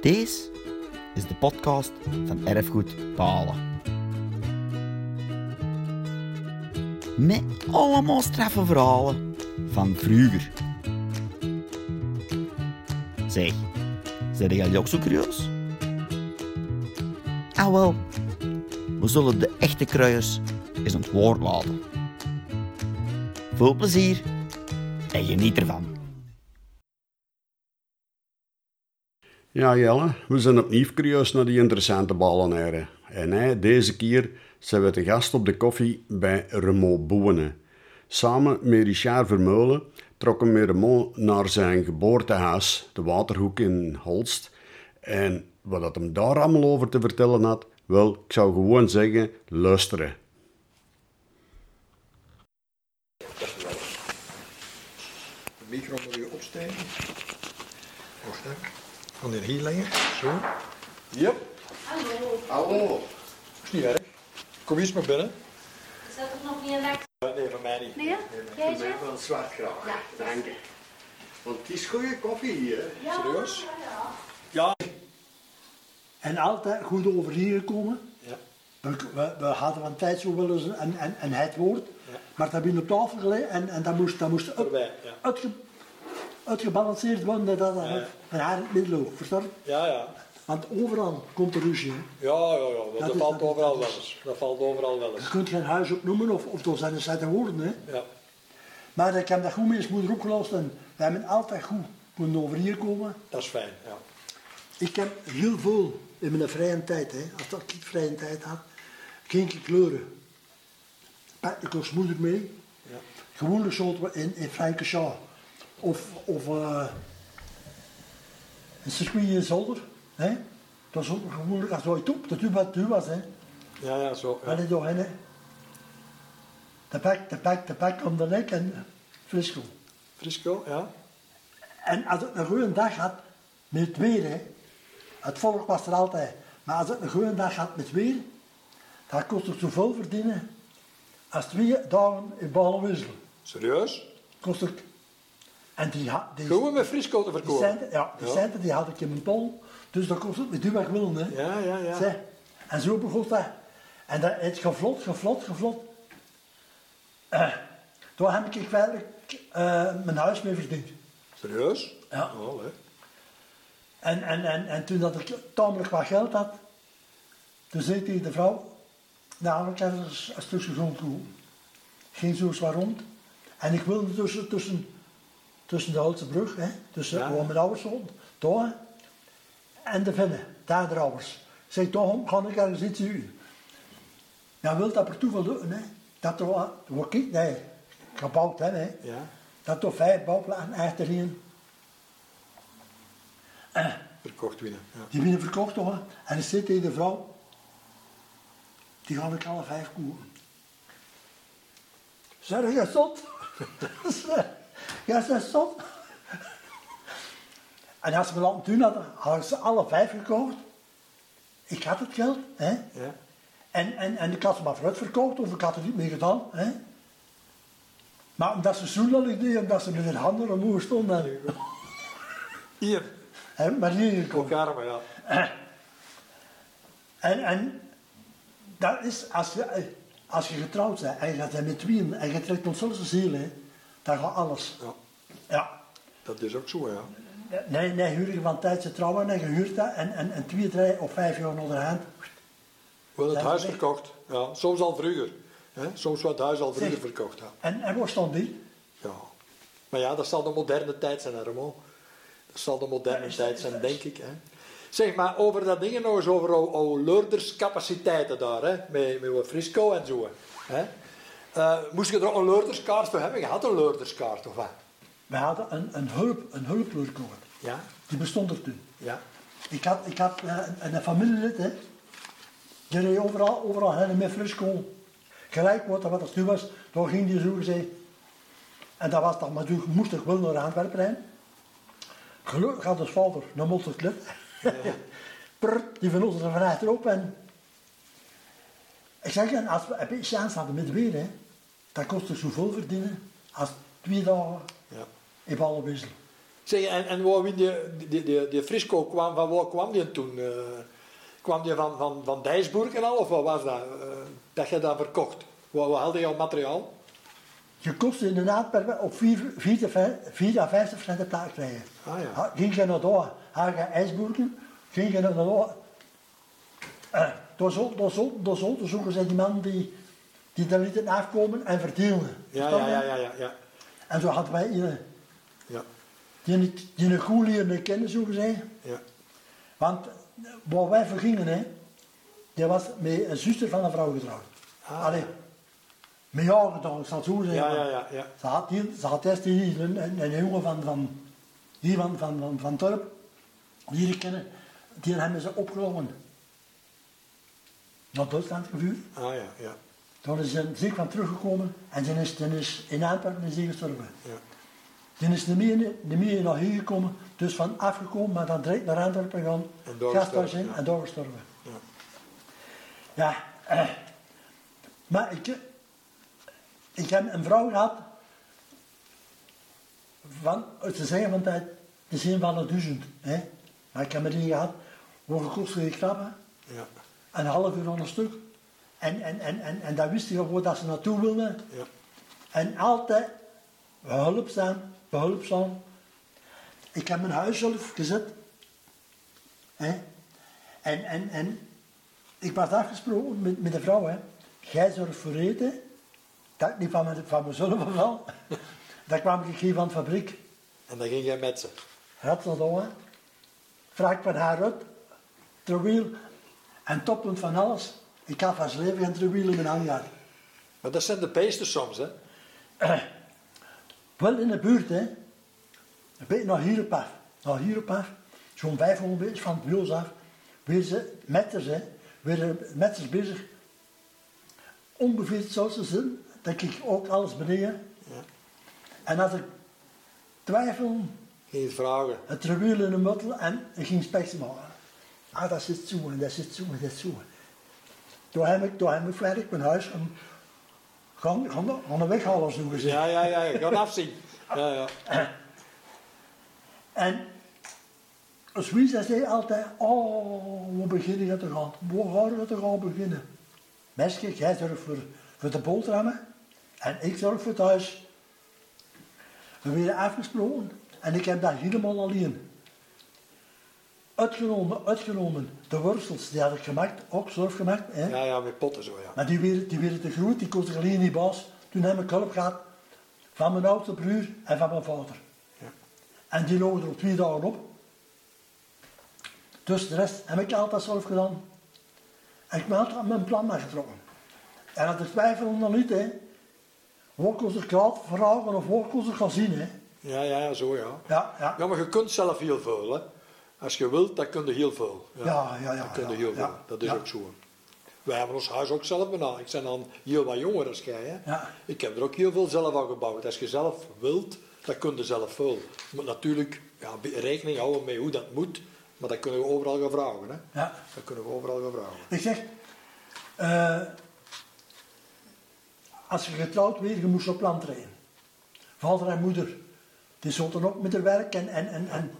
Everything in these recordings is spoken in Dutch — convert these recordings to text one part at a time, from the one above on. Deze is de podcast van Erfgoed Balen. Met allemaal straffe verhalen van vroeger. Zeg, zijn jullie ook zo curieus? Ah wel, we zullen de echte kruiers eens aan het woord laten. Veel plezier en geniet ervan. Ja, Jelle, we zijn opnieuw curieus naar die interessante ballenaren. En hè, deze keer zijn we te gast op de koffie bij Raymond Boene. Samen met Richard Vermeulen trokken we Raymond naar zijn geboortehuis, de Waterhoek in Holst. En wat dat hem daar allemaal over te vertellen had, wel, ik zou gewoon zeggen, luisteren. De micro moet je opsteken. Wacht hè. Kan die hier leggen? Zo. Yep. Hallo, Hallo. Is niet erg. Kom eens maar binnen. is dat toch nog niet een lekker? Nee, van mij niet. Nee, jij Ik ben zegt? van zwart graag. Dank je. Want het is goede koffie hier. Serieus? En altijd goed over hier gekomen. Ja. We, we, we hadden van tijd zo wel eens een, een, een het woord. Maar dat binnen op tafel gelegen en, en dat moest, dat moest uit- Voorbij, ja. uitge- uitgebalanceerd worden. Dat dat Ja. van haar in het midden lag, verstaan? Ja, ja. Want overal komt er ruzie. hè. Ja, ja, ja. Dat is- valt dat is- overal dat is- wel Dat valt overal wel Je kunt geen huis opnoemen of, of dat zijn de zetten woorden. Hè. Ja. Maar ik heb dat goed met mijn moeder opgelost en we hebben altijd goed kunnen over hier komen. Dat is fijn, ja. Ik heb heel veel in mijn vrije tijd, hè, als dat ik vrije tijd had, ging ik kleuren. Pak ik als moeder mee. Gewoonlijk zouden we in, in Frankenshaw of, of eh, een circuit in Zolder. Hè. Dat is ook gewoonlijk als wij op, dat u wat u was. Hè. Ja, ja, zo. Allee, doorheen, hè. De pak, de pak, de pak om de nek en frisco. Frisco, ja. En als het een goede dag had met het weer, hè, het volk was er altijd, maar als het een goede dag had met het weer, dan kon het zoveel verdienen als twee dagen in Balenwissel. Serieus? Kost het. En die, ha- die, Gewoon met Frisco te die, verkopen? centen, ja, die centen die had ik in mijn tol, dus dat kost het met duwweg willen. Hè. Ja, ja, ja. Zeg, en zo begon dat. En dat is gevlot, gevlot, gevlot. Eh, toen heb ik eigenlijk eh, mijn huis mee verdiend. Serieus? Oh, Ja. Wel, hè. En, en, en, en toen dat ik tamelijk wat geld had, toen zei tegen de vrouw, nou, ik heb er eens een stukje grond gekocht. Ging zo zwaar rond. En ik wilde tussen, tussen, tussen de Houtse brug, hè, tussen Ja. waar mijn ouders stonden, daar, en de Vinnen, daar de ouders. Ik zei, toch ga ik ergens iets huren. Nou, wil dat per toeval doen, hè. Dat er wat, wat ik, nee, gebouwd heb, hè. Ja. Dat er vijf bouwplaatsen achterin. Eh, Verkocht winnen. Ja. Die winnen verkocht hoor. En er zit tegen de vrouw. Die had ik alle vijf koeren. Zeg, jij zot? Zeg, jij zegt zot? En als ze me laten doen hadden, hadden ze alle vijf gekocht. Ik had het geld, hè. Ja. En, en, en ik had ze maar vooruit verkocht, of ik had er niet mee gedaan, hè. Maar omdat ze zoenlijk deden, omdat ze met hun handen omhoog stonden, Hier. hebben maar hier gekocht. Elkaar, maar ja. Eh. En, en dat is, als je, eh, als je getrouwd bent en je gaat met tweeën en je trekt ontzettend ziel, hè, dan gaat alles. ja. Ja. Dat is ook zo, ja. Nee, nee, huur je van tijd ze trouwen en je huurt dat en, en, en twee, drie of vijf jaar onderhand. Wel het Zijn huis ze weg? verkocht. Ja. Soms al vroeger. Hè. Soms wordt het huis al vroeger Zeg. verkocht. Ja. En, en waar stond die? ja. Maar ja, dat zal de moderne tijd zijn, hè, Ramon. Dat zal de moderne tijd zijn, denk ik. Hè. Zeg, maar over dat ding nog eens, over ou- oude leurderscapaciteiten daar, hè. Met, met wat Frisco en zo. Hè. Eh, moest je er ook een leurderskaart voor hebben? Je had een leurderskaart, of wat? We hadden een, een hulp, een hulpleurkoord. Ja. Die bestond er toen. Ja. Ik had, ik had eh, een, een familielid, hè. Die reed overal, overal heen en met Frisco. Gelijk wat, wat het nu was, dan ging die zo gezegd. En dat was dan, maar toen moest ik wel naar Antwerpen rijden. Gelukkig had ons vader een motterclub. Prr, die van ons er vanuit erop. En ik zeg, en als we een beetje chance hadden met weer, hè, dan kostte zoveel verdienen als twee dagen ja. in ballenwissel. Zeg, en, en waar wie die, die, die, die Frisco kwam, van waar kwam die toen? eh? kwam die van, van, van Dijsburg en al, of wat was dat? eh, dat je dat verkocht? Waar, waar haalde je jouw materiaal? Je kost inderdaad per week op 4, 4, 4 à 50 cent de plaat krijgen. Ah, ja. Ha- Ging je nou naar daar, had je ijsboeren, ging je naar daar. Eh, Door zo, door zo, door zo te zoeken zijn die mannen die, die daar lieten afkomen en verdeelden. Ja, Snap ja, je? ja, ja, ja. ja. En zo hadden wij iedereen ja. die, niet- die een goede leerde kennen, zoeken zij. ja. Want eh, waar wij voor gingen, hè, die was met een zuster van een vrouw getrouwd. Ah. Allee, met jou getrouwd, ik zal het zo zeggen. Ja, ja, maar ja, ja. Ze had, hier, ze had eerst hier een, een, een jongen van, van, hier van, van, van, van Turp, die ik kennen, die hebben ze opgenomen. Naar Duitsland gevuurd. Ah ja, ja. Daar is ze ziek van teruggekomen en dan is, dan is in Antwerpen is die gestorven. ja. Die is niet meer, niet meer naar hier gekomen, dus van afgekomen, maar dan direct naar Antwerpen gegaan, En doorgestorven, gasthuis in ja. en doorgestorven. Ja. Ja, eh, maar ik, ik heb een vrouw gehad van, te zeggen van tijd, de zin van de duizend. Hè? Maar ik heb er een gehad, hoe gekost die krabben, ja. een half uur aan een stuk. En, en, en, en, en dan wist je gewoon dat ze naartoe wilden. ja. En altijd behulpzaam, behulpzaam. Ik heb mijn huis zelf gezet. Hè? En, en, en ik was afgesproken met, met de vrouw. Hè? Jij zorgt voor eten. Dat ik niet van, mijn, van mezelf of wel. Dan kwam ik hier van de fabriek. En dan ging jij met ze. Ratseldoa. Vraag ik van haar uit. Trouwiel. En toppunt van alles. Ik had van leven geen trouwiel in mijn hangar. Maar dat zijn de beesten soms, hè? Wel in de buurt, hè. Een beetje naar hier op af. Naar hier op af. Zo'n 500 meters van het wiels af. Weer ze meters, hè. Weer meters bezig. Ongeveer zoals ze zijn. Dan kijk ik ook alles beneden. Ja. En als ik twijfel, Ging je het vragen. het ruwiel in de muttel en ik ging spijs maken. Ah, dat zit zo en dat zit zo en dat zit zo. Toen heb ik, toen heb ik verder mijn huis gaan, gaan, gaan, gaan weghalen, zo gezegd. Ja, ja, ja. ja. Gaan afzien. Ja, ja. En als wie zei zij altijd, oh, we beginnen je te gaan, we gaan je te gaan beginnen. Meisje, jij zorgt voor, voor de boterhammen en ik zorg voor thuis. We werden afgesproken en ik heb dat helemaal alleen. Uitgenomen, uitgenomen, de worstels die had ik gemaakt, ook zelf gemaakt. Hè? ja, ja, met potten zo, ja. Maar die werden, die werden te groot, die kost ik alleen niet baas. Toen heb ik hulp gehad van mijn oudste broer en van mijn vader. Ja. En die logen er op twee dagen op. Dus de rest heb ik altijd zelf gedaan. En ik ben altijd aan mijn plan getrokken. En als ik twijfel nog niet, hè. Waar kon ze geld vragen of waar kon ze gaan zien, hè. Ja, ja, ja, zo, ja. Ja, ja. Ja, maar je kunt zelf heel veel, hè. Als je wilt, dan kun je heel veel. Ja, ja, ja, Dan kun je ja, heel veel. ja, Dat is ja. ook zo. Wij hebben ons huis ook zelf benaderd. Ik ben dan heel wat jonger als jij, hè. Ja. Ik heb er ook heel veel zelf aan gebouwd. Als je zelf wilt, dan kun je zelf veel. Je moet natuurlijk ja, be- rekening houden met hoe dat moet. Maar dat kunnen we overal gaan vragen, hè. Ja. Dat kunnen we overal gaan vragen. Ik zeg, eh, als je getrouwd werd, je moest op land rijden. Vader en moeder, die zochten ook met haar werk en, en, en, en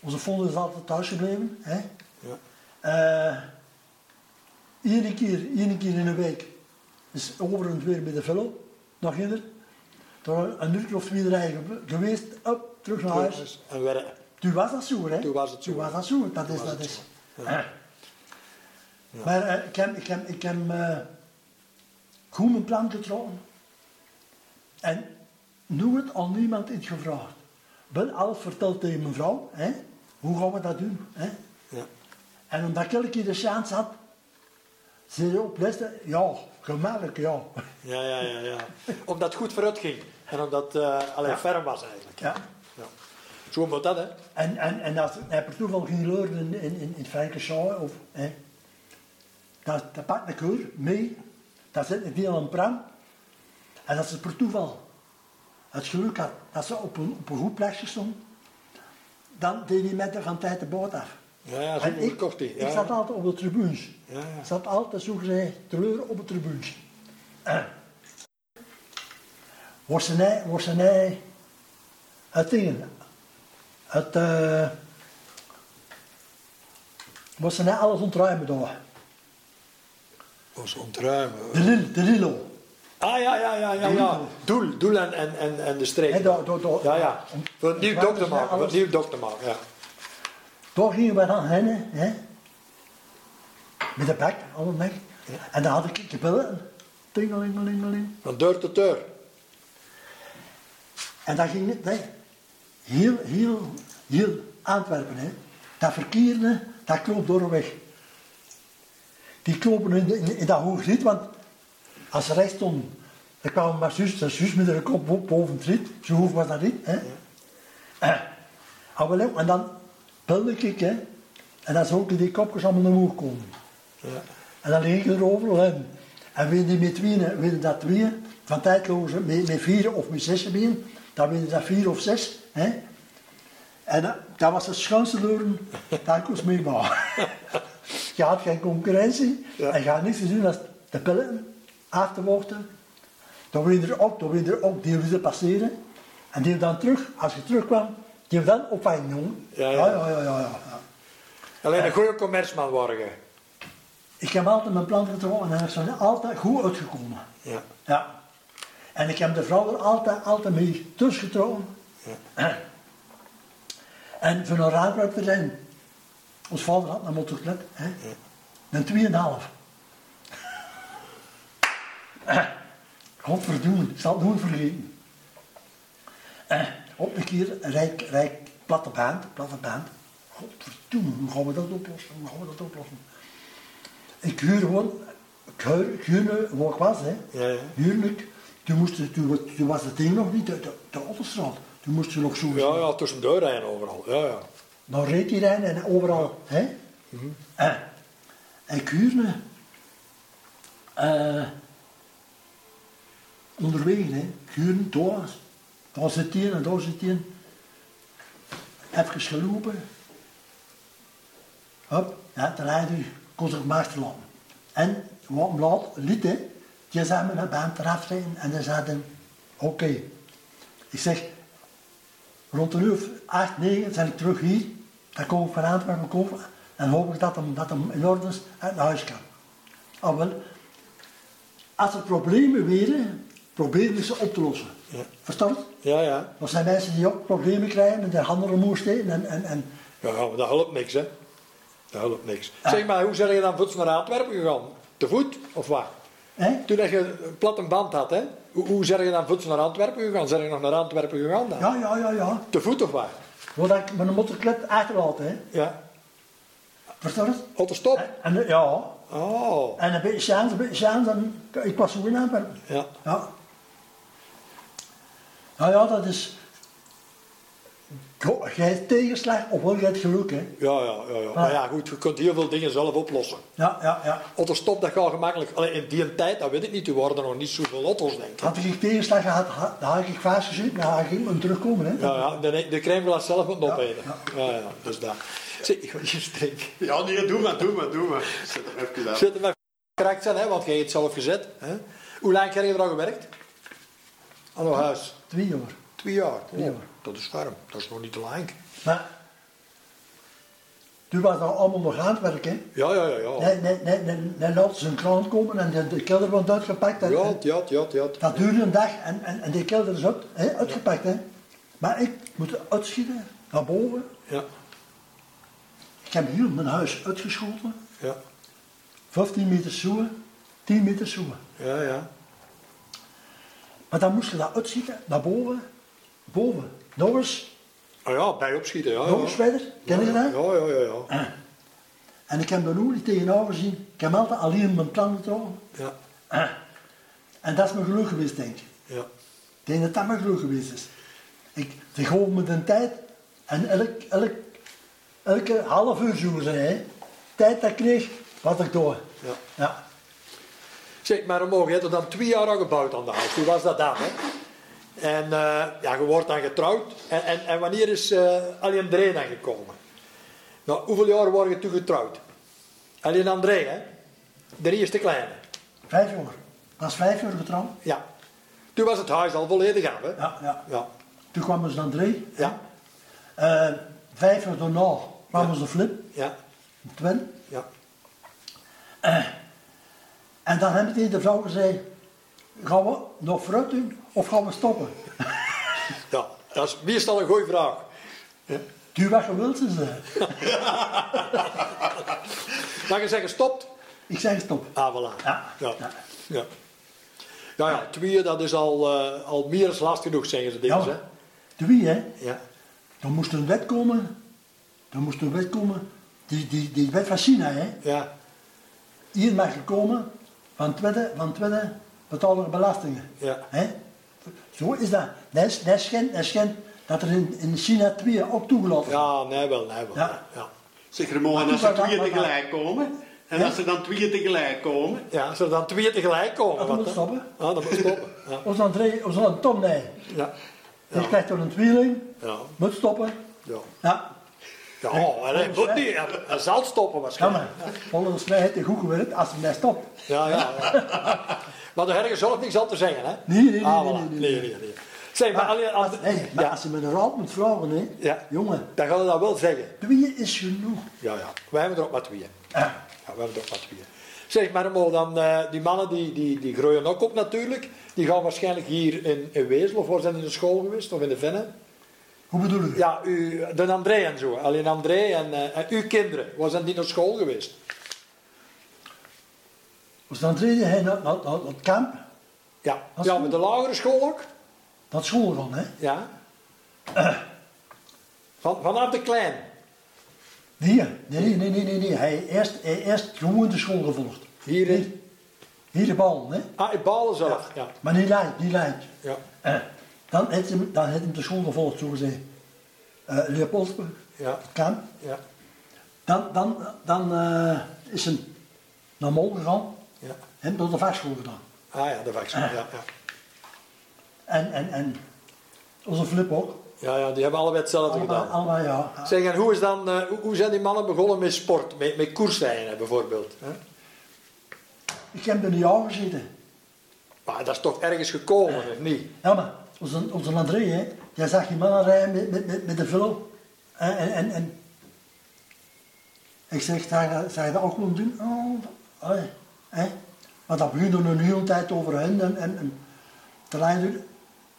onze volgende is altijd thuis gebleven. Hè? Ja. Eh, Eén keer, één keer in de week is overend weer met de vullo, nog hinder. Door een uur of twee rijden ge- geweest, op, terug naar huis. Dus- En werken. Toen was dat zo, hè? Toen was het zo. Toen was dat zo, dat Toen is, was dat het is. zo. Hè? Maar eh, ik heb, ik heb, ik heb eh, goed mijn plan getrokken. En nooit al niemand iets gevraagd. Wel alles verteld tegen mijn vrouw, hè? Hoe gaan we dat doen, hè? Ja. En omdat ik elke keer de chance had, zei je op les, ja, gemakkelijk, ja. Ja, ja, ja, ja. Omdat het goed vooruit ging. En omdat eh alleen ferm was eigenlijk. ja. Ja. Zo moet dat, hè? En, en, en als hij per toeval ging leuren in, in, in, in Frankenstein, of, hè, dat, dat pakt ik hoor, mee, dat zit een deel aan pram. En dat ze per toeval het geluk had dat ze op een, op een goed plekje stond, dan deed hij met haar van tijd de boot af. Ja, ja, zo en ik, kocht hij. Ja, ik zat altijd op de tribunes. Ja, ja. Ik zat altijd zo gezegd te leuren op de tribunes. Eh. Wordt ze nij, wordt ze nij, het ding, Het eh was ze net alles ontruimen daar. was ontruimen. De, Lil, de Lilo. Ah ja, ja, ja, ja. ja. Doel, doel en, en, en, en de streep. Hè, daar- daar- daar- ja, ja. om- Voor een nieuw om- dokter ja, maken. Voor alles. een nieuw dokter maken, ja. Daar gingen we naar hennen, hè? Met de bek, alle bek. En dan had ik de billen. Tingelingelingeling. Van deur tot deur. En dat ging niet weg. Heel, heel, heel Antwerpen, hè. Dat verkeer, hè, dat kloopt door de weg. Die klopen in, in, in dat hoog riet, want als ze recht stonden, dan kwamen maar zus, dat zus met een kop bo- boven het riet. Zo hoog was dat niet, hè. Eh, ah, wel, hè, En dan belde ik, hè. En dan zou ik die kopjes allemaal naar hoog komen. En dan leeg je erover en, en win die met tweeën, win je dat tweeën, van tijdlozen met, met vier of met zes been, dan win je dat vier of zes. Hè? En dat, dat was het schoonste leuren dat ik ons meemaken. je had geen concurrentie Ja. en je had niks te doen als de pillen af te wachten. Dan win je er op, dan win je er op, die wil je passeren. En die dan terug, als je terugkwam, die dan opvangen, jongen. Ja, ja. ja, ja, ja, ja, ja. Alleen een goede commerceman worden. Ik heb altijd mijn plan getrokken en dat is er altijd goed uitgekomen. Ja. Ja. En ik heb de vrouw er altijd, altijd mee tussen getrokken. En voor een raadwerk te zijn, ons vader had een motorclub, hè? een 2,5. Godverdoen, Eh, ik zal het nooit vergeten. Eh, op een keer rijk, rijk, platte baan, platte baan. Godverdoen, hoe gaan we dat oplossen? Hoe gaan we dat oplossen? Ik huur gewoon, ik huur, ik huur nu waar ik was, hè. Ja, ja. Huur ik. Toen, moest, je- toen, wa- toen was het ding nog niet, de, de, de Otterstraat. Toen moest je nog zo Ja, ja, tussendoor rijden overal. Ja, ja. dan reed hij erin en overal. Hè? En, en Kuurne, eh, onderweg, hè? Kuurne, daar, daar zit hij en daar zit hij. Even gelopen. Hop, ja, dan hij die kon zich machten laten. En wat hem laat, liet, hè, die zei me naar bij hem eraf rijden en dan zei hij, oké. Ik zeg, Rond een uur of acht, negen zijn ik terug hier. Dan kom ik van Antwerpen kopen en hoop ik dat hem, dat hem in orde is en naar huis kan. Ah, wel. Als er problemen waren, probeerden ik ze op te lossen. Verstand? Ja, ja. Dat zijn mensen die ook problemen krijgen en de handen moest steken en, en, en Ja, maar dat helpt niks, hè. Dat helpt niks. Zeg maar, hoe zijn je dan voets naar Antwerpen gegaan? Te voet, of wat? hè? Toen dat je een platte band had, hè? Hoe, hoe zijn je dan voets naar Antwerpen gegaan? Zijn je nog naar Antwerpen gegaan dan? Ja, ja, ja, ja. Te voet, of wat? Doordat ik mijn motorclub achterlaat, hè. Ja. Verstand? Otterstop? En, en, ja. Oh. En een beetje chance, een beetje chance. En ik was zo in Antwerpen. Ja. Ja. Nou ja, dat is. Go- Jij hebt tegenslag, ofwel jij hebt geluk, hè? Ja, ja, ja, ja. Maar ja, goed, je kunt heel veel dingen zelf oplossen. Ja, ja, ja. Otterstop, dat gaat gemakkelijk. Alleen in die tijd, dat weet ik niet, toen waren er nog niet zoveel auto's, denk ik. Had ik tegenslag gehad, ha- dan had ik vastgezeten, dan had ik hem terugkomen, hè? Ja, ja, de, de crème glace zelf moet opeten. Ja, ja. dus dat. Zeg, ik ga hier drinken. Ja, nee, doe maar, doe maar, doe maar. Zet hem even aan. Zit er maar correct zijn, hè, want jij hebt het zelf gezet. Hè. Hoe lang heb je er al gewerkt? Aan uw huis? Twee jaar. Twee jaar. Twee jaar. Dat is warm. Dat is nog niet te lang. Maar. Toen was dat allemaal nog aan het werk, hè? Ja, ja, ja. Ja, Nee, nee, nee, nee, nee, laat ze een krant komen en de, de kelder wordt uitgepakt. En, ja, ja, ja. ja. Dat duurde een dag en, en, en die kelder is uit, hè, uitgepakt, hè? Maar ik moet uitschieten naar boven. ja. Ik heb heel mijn huis uitgeschoten. ja. 15 meter zoe, 10 meter zoe. Ja, ja. Maar dan moest je dat uitschieten, naar boven, boven. Nog eens, Ah ja, bij opschieten, ja. nog eens ja. verder, ken je dat? Ja, ja, ja, ja. Eh. En ik heb er nooit niet tegenaan gezien. Ik heb altijd alleen mijn plan getrokken. Eh. Ja, En dat is mijn geluk geweest, denk ik. ja. Ik denk dat dat mijn geluk geweest is. Ik, die gaf me de tijd en elk, elk, elke half uur zoeken ze, hè. Tijd dat ik kreeg, wat ik door. Ja. ja. Zeg, maar omhoog, je hebt er dan twee jaar aan gebouwd aan de huis. Hoe was dat dan, hè? En eh, ja, je wordt dan getrouwd. En, en, en wanneer is eh Alien André dan gekomen? Nou, hoeveel jaar word je toen getrouwd? Alien André, hè? De eerste kleine. Vijf uur. Dat is vijf uur getrouwd. Ja. Toen was het huis al volledig af, hè? Ja, ja. Ja. Toen kwam dus André. Ja. Eh, vijf jaar daarna kwam onze flip, Ja, Twen. ja. En dan hebben tegen de vrouw gezegd, gaan we nog fruit doen of gaan we stoppen? Ja, dat is meestal een goede vraag. Doe wat je wilt, ze zei. Dan je zeggen stopt. Ik zeg stop. Ah, voilà. Ja. Ja. Ja. Ja. Ja, ja, twee, dat is al, eh, al meer dan last genoeg, zeggen ze dingen. Ja, twee hè. Ja. Dan moest er een wet komen. Dan moest er een wet komen. Die, die, die wet van China hè. Ja. Hier mag je komen van tweede, van tweede betalen belastingen. Ja. Hè? Zo is dat. Dat is, dat is geen- dat is geen- dat er in, in China twee ook toegelaten zijn. ja, nee wel, nee wel. Ja. ja. Zeg Ramon, Ah, en als er twee tegelijk komen, en als er dan twee tegelijk komen, Ja, als er dan twee tegelijk komen. Dat wat moet dan? stoppen. Ah, dat moet stoppen. Ja. Ons André, ons een Tom, nee. Ja. Je Ja. krijgt er een tweeling, Ja. moet stoppen. Ja. Ja, Ja, oh, en hij Volgens moet mij- niet. Hij- Hij zal stoppen kan waarschijnlijk. maar. Volgens mij heeft hij goed gewerkt als hij daar stopt. Ja, ja. ja. maar de herger zelf niks al te zeggen, hè? Nee, nee, nee, Ah, nee, voilà. nee, nee, nee. nee, nee. Zeg, maar, alleen als... als, hey, maar ja, als je met een raad moet vragen, hè, Ja. jongen, dan gaan we dat wel zeggen. tweeën is genoeg. Ja, ja. Wij hebben er ook maar tweeën. Ja. Ja, we hebben toch wat weer. Zeg maar, Mo, dan, eh, die mannen die, die, die groeien ook op natuurlijk. Die gaan waarschijnlijk hier in, in Wezel of waar zijn die in de school geweest of in de Venne. Hoe bedoel je? Ja, u, de André en zo. Alleen André en, eh, en uw kinderen, waar zijn die naar school geweest? Dus dan treedde hij naar, naar, naar het kamp, Ja, Dat is ja goed. met de lagere school ook. dat school van, hè? Ja. Van, vanaf de klein. Nee, nee, nee, nee, nee, nee. Hij heeft eerst, hij heeft eerst gewoon de school gevolgd. Hier in- Hier de bal, hè? Ah, in Balen zelf. Ja. Maar niet leid, niet leid. Ja. Eh, dan heeft hij, dan heeft hij de school gevolgd, zo gezegd. Eh Leopoldsburg, Ja. het kamp. Ja. Dan, dan, dan eh, is hij naar Mol gegaan, ja. hem door de vakschool gedaan. Ah ja, de vaccin. Ja, ja. En, en, en onze flip ook. ja, ja, die hebben allebei hetzelfde Allemaal, gedaan. allemaal ja. Zeg, en hoe, is dan, eh, hoe, hoe zijn die mannen begonnen met sport, met, met koersrijden bijvoorbeeld? Hè? Ik heb er niet aan gezeten. Maar dat is toch ergens gekomen, of niet? Ja, maar onze, onze André, hè, jij zag die mannen rijden met, met, met, met de vullo. En, en, en, en ik zeg, zou je- zou je dat ook willen doen? Oh, oh, ja, hè. Maar dat begint dan een hele tijd over hen en, en, en te rijden.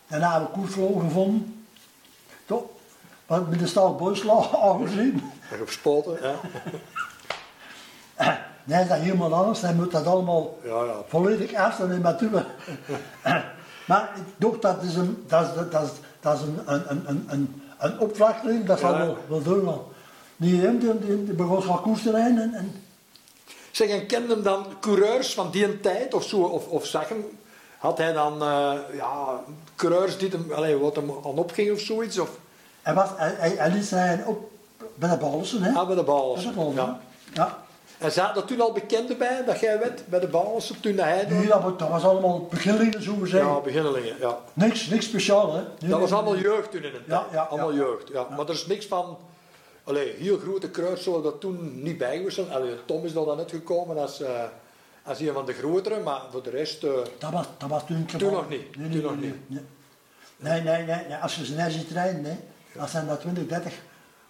Daarna hebben we koersvloer gevonden. Toch? Wat met de staal Boisla aangezien. En Gespoten, hè? Nee, dat is helemaal anders. Hij moet dat allemaal Ja, ja. volledig afstaan in Matuwe. maar ik dacht, dat is een, dat is, dat is, dat is een, een, een, een, een, een opvlakking, dat zal Ja. wel, wel doen. Maar die, hem, die, die, die begon gaan koers te rijden en, en Zeg, en kende hem dan coureurs van die een tijd of zo? Of, of zag hem, had hij dan eh, ja, coureurs die hem, allee, wat hem aan opging of zoiets? Of hij, was, hij, hij, hij liet zijn op bij de Balsen. Hè? ah, bij de Bij de Baalse? Balsen. Ja. Ja. Ja. En zaten er toen al bekenden bij, dat jij werd, bij de Baalse, toen dat hij... Nu, door- dat, wa- dat was allemaal beginnelingen, zo gezegd. Ja, beginnelingen, ja. Niks, niks speciaal, hè? Nee, Dat was nee, allemaal nee. jeugd toen in een Ja, tijd. ja, allemaal ja. jeugd, ja. Maar er is niks van... Allee, heel grote kruis zullen dat toen niet bij geweest zijn. Allee, Tom is dan net gekomen als, eh, als een van de grotere, maar voor de rest... eh, Dat was, dat was toen... Toen nog niet, toen Nee, nee, nog nee, niet. nee. Nee, nee, nee, nee. Als je ze net ziet rijden, hè, dan zijn dat 20, 30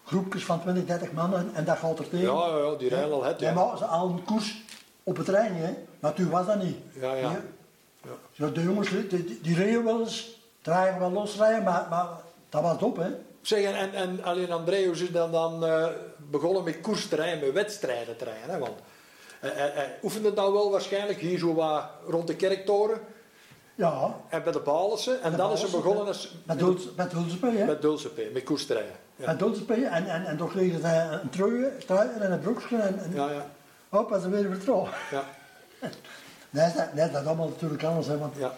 groepjes van 20, 30 mannen en dat valt er tegen. ja, ja, ja, die rijden al het, ja. ja. maar ze al een koers op het rijden, hè. Maar toen was dat niet. Ja, ja. Nee. Zo, de jongens, die, die, die reden wel eens, draaien wel losrijden, maar, maar dat was het op, hè. Zeg, en, en, en alleen Andreus is dan, dan eh, begonnen met koersterrein, met wedstrijden terrein, hè, want... Hij, hij, hij oefende dan wel waarschijnlijk hier zo wat rond de kerktoren Ja. en bij de Balense. En dan is hij Balsen, begonnen hè. als, Met Hulsepij, met Hulsepij, hè. met Dulcepé, met koersterrein. Ja. Met Hulsepij en, en, en toch kregen ze een trui, trui en een broekje en... en Ja, ja, Hoppa, ze weer vertrouwen. ja, Nee, dat, nee, dat allemaal natuurlijk anders. Hè, want ja.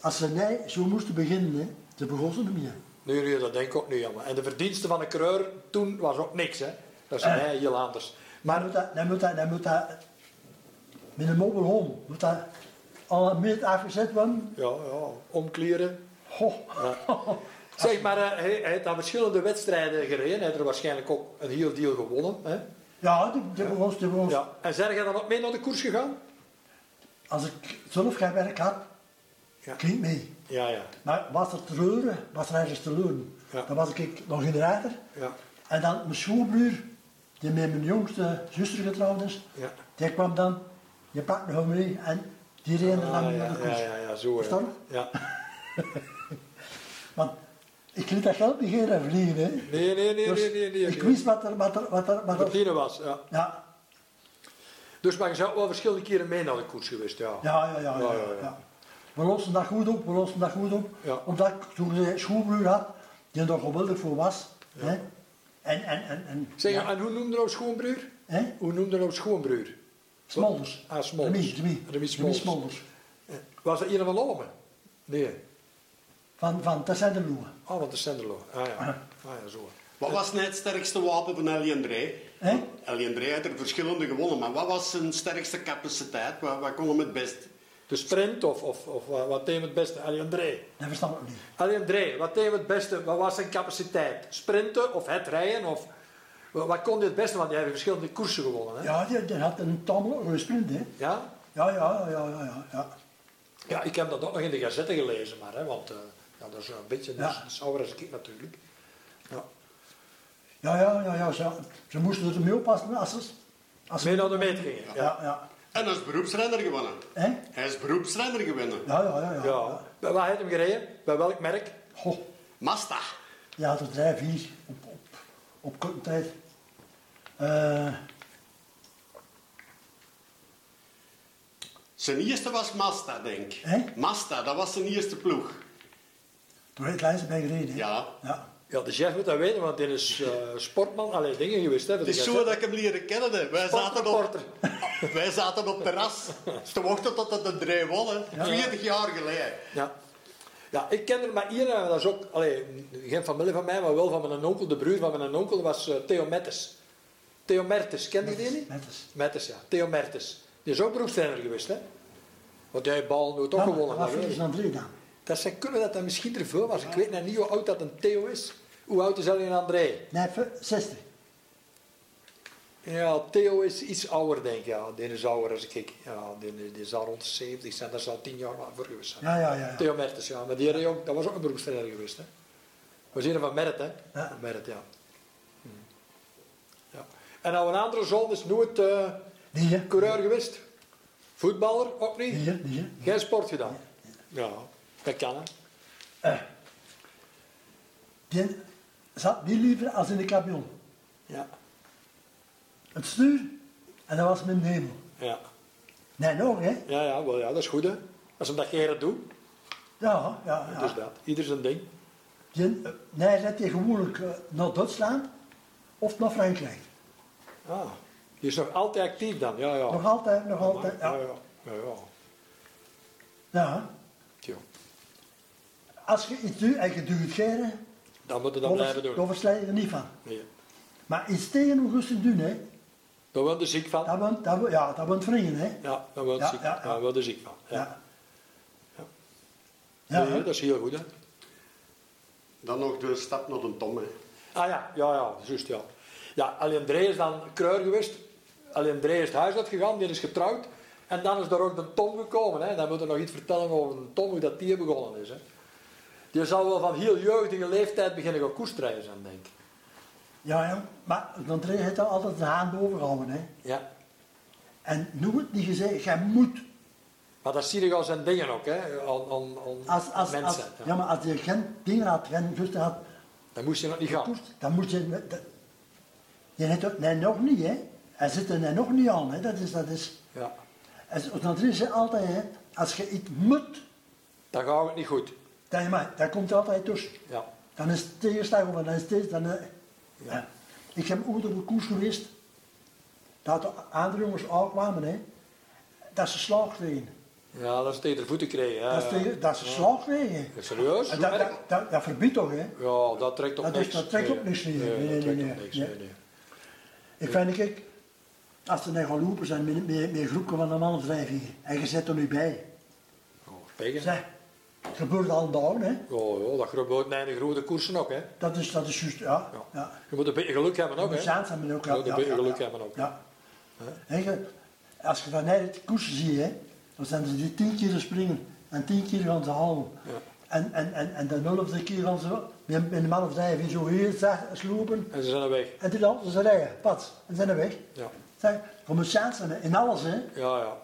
als ze nee, zo moesten beginnen, hè, ze begonnen er niet meer. Nee, nee, dat denk ik ook niet, jammer. En de verdiensten van een coureur toen was ook niks, hè. Dat is Eh. voor mij heel anders. Maar moet dat, dan moet dat, dan moet dat met een mobile home, moet dat al een meter afgezet worden. Ja, ja, omkleren. Goh. Zeg maar, eh, hij, hij heeft aan verschillende wedstrijden gereden. Hij heeft er waarschijnlijk ook een heel deel gewonnen, hè. Ja, die, die begon, die begon. Ja. En zijn jij dan ook mee naar de koers gegaan? Als ik zelf geen werk had, Ja. ging ik mee. Ja, ja. Maar was er treuren, was er ergens te leunen. Ja. Dan was ik nog in de rechter. Ja. En dan mijn schoonbroer, die met mijn jongste zuster getrouwd is, Ja. die kwam dan, je pakt nog hem mee en die reden er dan Ah, mee naar ja, de ja, koers. ja, ja, zo. Verstaan? Ja. ja. Want ik liet dat geld niet geen vliegen. Hè. Nee, nee, nee, Dus nee, nee, nee. Ik wist wat er, wat er, wat er, wat wat het er. hier was. Ja. Ja, Dus maar je zou wel verschillende keren mee naar de koers geweest, ja. Ja, ja, ja. ja, Ja, ja, ja. ja. We lossen dat goed op, we lossen dat goed op. Ja. Omdat ik toen een schoolbroer had, die er geweldig voor was. Hè? En, en, en, en, Zeg, ja. en hoe noemde nou schoonbroer? Hè? Hoe noemde nou schoonbroer? Smolders. Ah, Smolders. Remy, Remy. Remy Smolders. Eh, Was dat hier van Olmen? Nee. Van, van Tessenderloe. Ah, want de Senderlo. Ah ja. Ah ja, zo. Wat was net het sterkste wapen van Elie André? Hè? Elie André had er verschillende gewonnen, maar wat was zijn sterkste capaciteit? Wat, wat kon hem het best? De sprint of, of, of wa- wat deed hem het beste? Allee, André. Dat verstand ik niet. Allee, André, wat deed hem het beste? Wat was zijn capaciteit? Sprinten of het rijden? Of, wa- wat kon hij het beste? Want jij hebt verschillende koersen gewonnen. Hè? Ja, die, die had een tamelijk goede sprint, hè. ja? Ja, ja, ja, ja, ja. ja. Ja, ik heb dat ook nog in de gazette gelezen, maar, hè, want eh, ja, dat is een beetje Ja. dat is ouder als ik natuurlijk. Ja. Ja, ja, ja, ja. Ze, ze moesten er mee oppassen als ze... Als ze Mee naar de meet gingen. Ja. Ja, Ja. ja. En hij is beroepsrenner gewonnen. Hè? Hij is beroepsrenner gewonnen. Ja, ja, ja, ja. Bij waar heeft hem gereden? Bij welk merk? Goh, Mazda. je had er drie, vier op, op, op korte tijd. Eh, Zijn eerste was Mazda, denk ik. Hè? Mazda, dat was zijn eerste ploeg. Toen heb ik lijst bij gereden. hè? Ja. ja. Ja, de chef moet dat weten, want dit is eh, sportman, allerlei dingen geweest. Hè, voor Het de is zo gazette. dat ik hem leren kennen. hè. Wij zaten op, Sportreporter. wij zaten op terras te wachten tot het een draai won. hè. 20 jaar geleden. Ja. Ja, ik ken er maar hier, eh, dat is ook, allee, geen familie van mij, maar wel van mijn onkel. De broer van mijn onkel was eh, Theo Mettes. Theo Mertes, ken je die niet? Mettes. Mettes, ja. Theo Mertes. Die is ook beroepstrainer geweest, hè? Want jij bal nu toch Ja, maar gewonnen. Wat hè, voor weet is je. dan drie dan? Dat zou kunnen dat dat misschien te veel was. Ik weet nog niet hoe oud dat een Theo is. Hoe oud is Ellen André? Nee, v- 60. Ja, Theo is iets ouder, denk ik. Ja, die is ouder als ik. Ja, die, die zal rond de 70 zijn. Daar zal 10 jaar voor geweest zijn. Ja, ja, ja. ja. Theo Mertens, ja. Maar die reed ook, dat was ook een beroepstrainer geweest, hè. We zien hem van Merret, hè. Ja. Van Merret, ja. Hm. ja. En nou een andere zoon is nooit eh Die hè? coureur geweest. Voetballer, ook niet. Die hè? Die hè? Geen sport gedaan. Ja, dat kan, hè. Eh. Die zat niet liever als in de kabion. Ja. Het stuur, en dat was mijn hemel. Ja, Nee, nog hè? ja, ja, wel, ja dat is goed, hè. Als ze dat geren doen, Ja, ja, ja. dus dat. Ieder zijn ding. Die, eh, nee, dat je gewoonlijk eh, naar Duitsland of naar Frankrijk. Ah, die is nog altijd actief dan, ja, ja. Nog altijd, Oh, nog altijd. Ja, Ja. ja, ja. ja. ja. Tjoh. Als je iets doet en je doet het geren, Dan moeten we dat dan blijven doen. versla je er niet van. Nee. Maar iets tegen Augustus doen, hè? Daar worden ze ziek van. Dat wordt dat, wordt- ja, dat wordt wringen, hè? Ja, daar word je Ja, ziek, ja, ja. daar word je ziek van. Ja. Ja. Ja, Ja, hè? dat is heel goed, hè? Dan nog de stap naar de Tom. hè. Ah ja, ja, ja, juist, ja. Ja, alleen Dree is dan kruier geweest. Alleen Dree is het huis uitgegaan, die is getrouwd. En dan is er ook de Tom gekomen, hè. Dan moet ik nog iets vertellen over de Tom, hoe dat die begonnen is, hè. Die zal wel van heel jeugdige leeftijd beginnen gaan koersrijden zijn, denk ik. Ja, ja. Maar dan heeft hij altijd de hand overgehouden, hè? Ja. En nu wordt niet gezegd, jij moet. Maar dat zie je al zijn dingen ook, hè, aan, aan, aan Als, als, mensen. als, ja. ja, maar als je geen dingen had, geen gusten had, Dan moest je nog niet gaan. dan moet je. met- dat- je hebt ook, nee, nog niet, hè? Hij zit er nog niet aan, hè? Dat is. Dat is Ja. en zo- dan is je altijd, hè? Als je iets moet, Dan gaat het niet goed. dan, je maar, dan komt er altijd tussen. Ja. Dan is het tegenslag of dan is dit, dan... eh, ja. Ik heb ooit op een koers geweest, dat de andere jongens aankwamen, hè, dat ze slag kregen. Ja, dat is tegen de voeten krijgen. hè. dat, ze tegen- dat ze slag kregen. Eh, Serieus? En dat, dat, dat, dat verbiedt toch, hè. Ja, dat trekt op Dat is- niks. dat trekt op niks, nee. Nee, dat nee, trekt nee, op niks. nee. nee, nee. Ik vind, ik, als ze naar gaan lopen zijn met, met, met groepen van een man of vijf hier, en je zit er nu bij, Oh, pegen. zeg, het gebeurt al dagen, hè. Oh, ja, dat groot naar de grote koersen ook, hè. Dat is, dat is juist, ja. Ja. ja. Je moet een beetje geluk hebben ook, Ook, hè. zijn we ook Ja, dat ben je geluk hebben ook, hè. Ja. Hè, je- als je van het koersen ziet, hè, dan zijn ze die tien keer springen en tien keer gaan ze halen. En, en, en, en de nulfde keer gaan ze En een man of vijf is zo hier, zag, slopen. En ze zijn er weg. En toen hadden ze rijden, pad. En zijn er weg. Ja, Zeg, kom eens chansen eh, in alles, hè. ja. ja.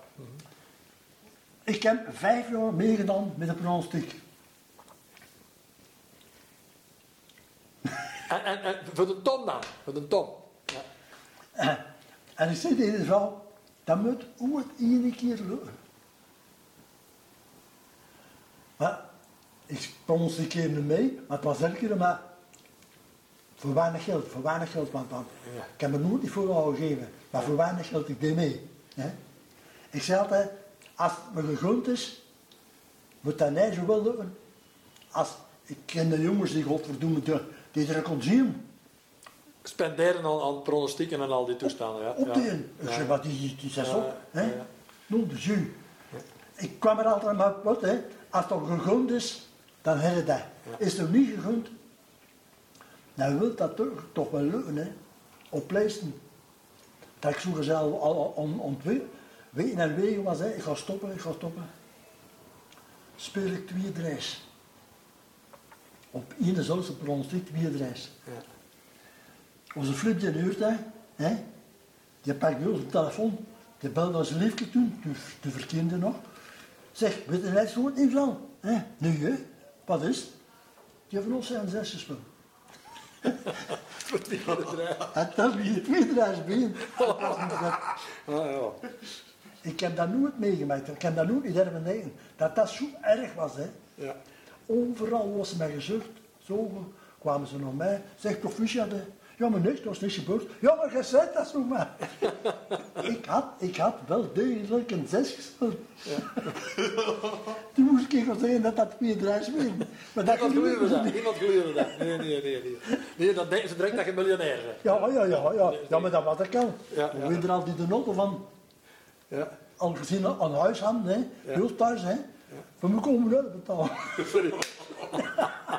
Ik heb vijf jaar meegedaan met de pronostiek. En, en, en voor de Tom dan, voor de Tom. Ja. Eh, En ik zei tegen de vrouw, dat moet ooit één keer lukken. Maar ik pronosticeerde mee, maar het was elke keer maar voor weinig geld, voor weinig geld, want, want Ja. ik heb me nooit niet voor gegeven, maar voor weinig geld, ik deed mee. Hè? Ik zei altijd, als het me gegund is, moet dat niet zo wel lukken. Als, ik ken de jongens die godverdomme, die, die er kon zien. Spenderen aan, aan pronostieken en al die toestanden. Ja. Op ja. de in. Ik Ja. zeg, wat is die, die zes Ja, op? Hè? ja. Nou, de jus. Ik kwam er altijd maar wat, hè. Als het al gegund is, dan heb je dat. Is het niet gegund, dan wil dat toch, toch wel lukken, hè. Op pleisten. Dat ik zo gezellig al om, om twee, weken en wegen was, hè. Ik ga stoppen, ik ga stoppen. Speel ik twee drijs. Op één dezelfde pronostiek twee drijs. Ja. Onze Flip die huurt, hè, hè, die pakt bij ons op telefoon. Die belde onze liefje toen, de, de verkeerde nog. Zeg, weet je net zo in Vlaam? Hè? Nu, hè? Wat is het? Die van ons zijn zes gespeeld. En dat is het meerderheidsbeen. Ah, ja. Ik heb dat nooit meegemaakt. Ik heb dat nooit in mijn eigen. Dat dat zo erg was, hè. Ja. Overal was mij gezucht. Zo kwamen ze naar mij. Zeg, proficiat, hè. Ja, maar niks, er is niks gebeurd. Ja, maar je zei dat zo maar. ik, had, ik had wel degelijk een zes gespeeld. Toen moest ik nog zeggen dat dat twee draais weer. Maar dat Niemand geloofde gebeurde dat, niet. niemand geloofde dat. Nee, nee, nee. Nee, nee dan denken ze direct dat je miljonair bent. Ja, ja, ja, ja. Ja, maar dat was ik al. Ja, ja. We weten er al die de noten van. Ja. Al gezien aan huis aan, hè. Heel thuis, hè. Voor me komen we betalen.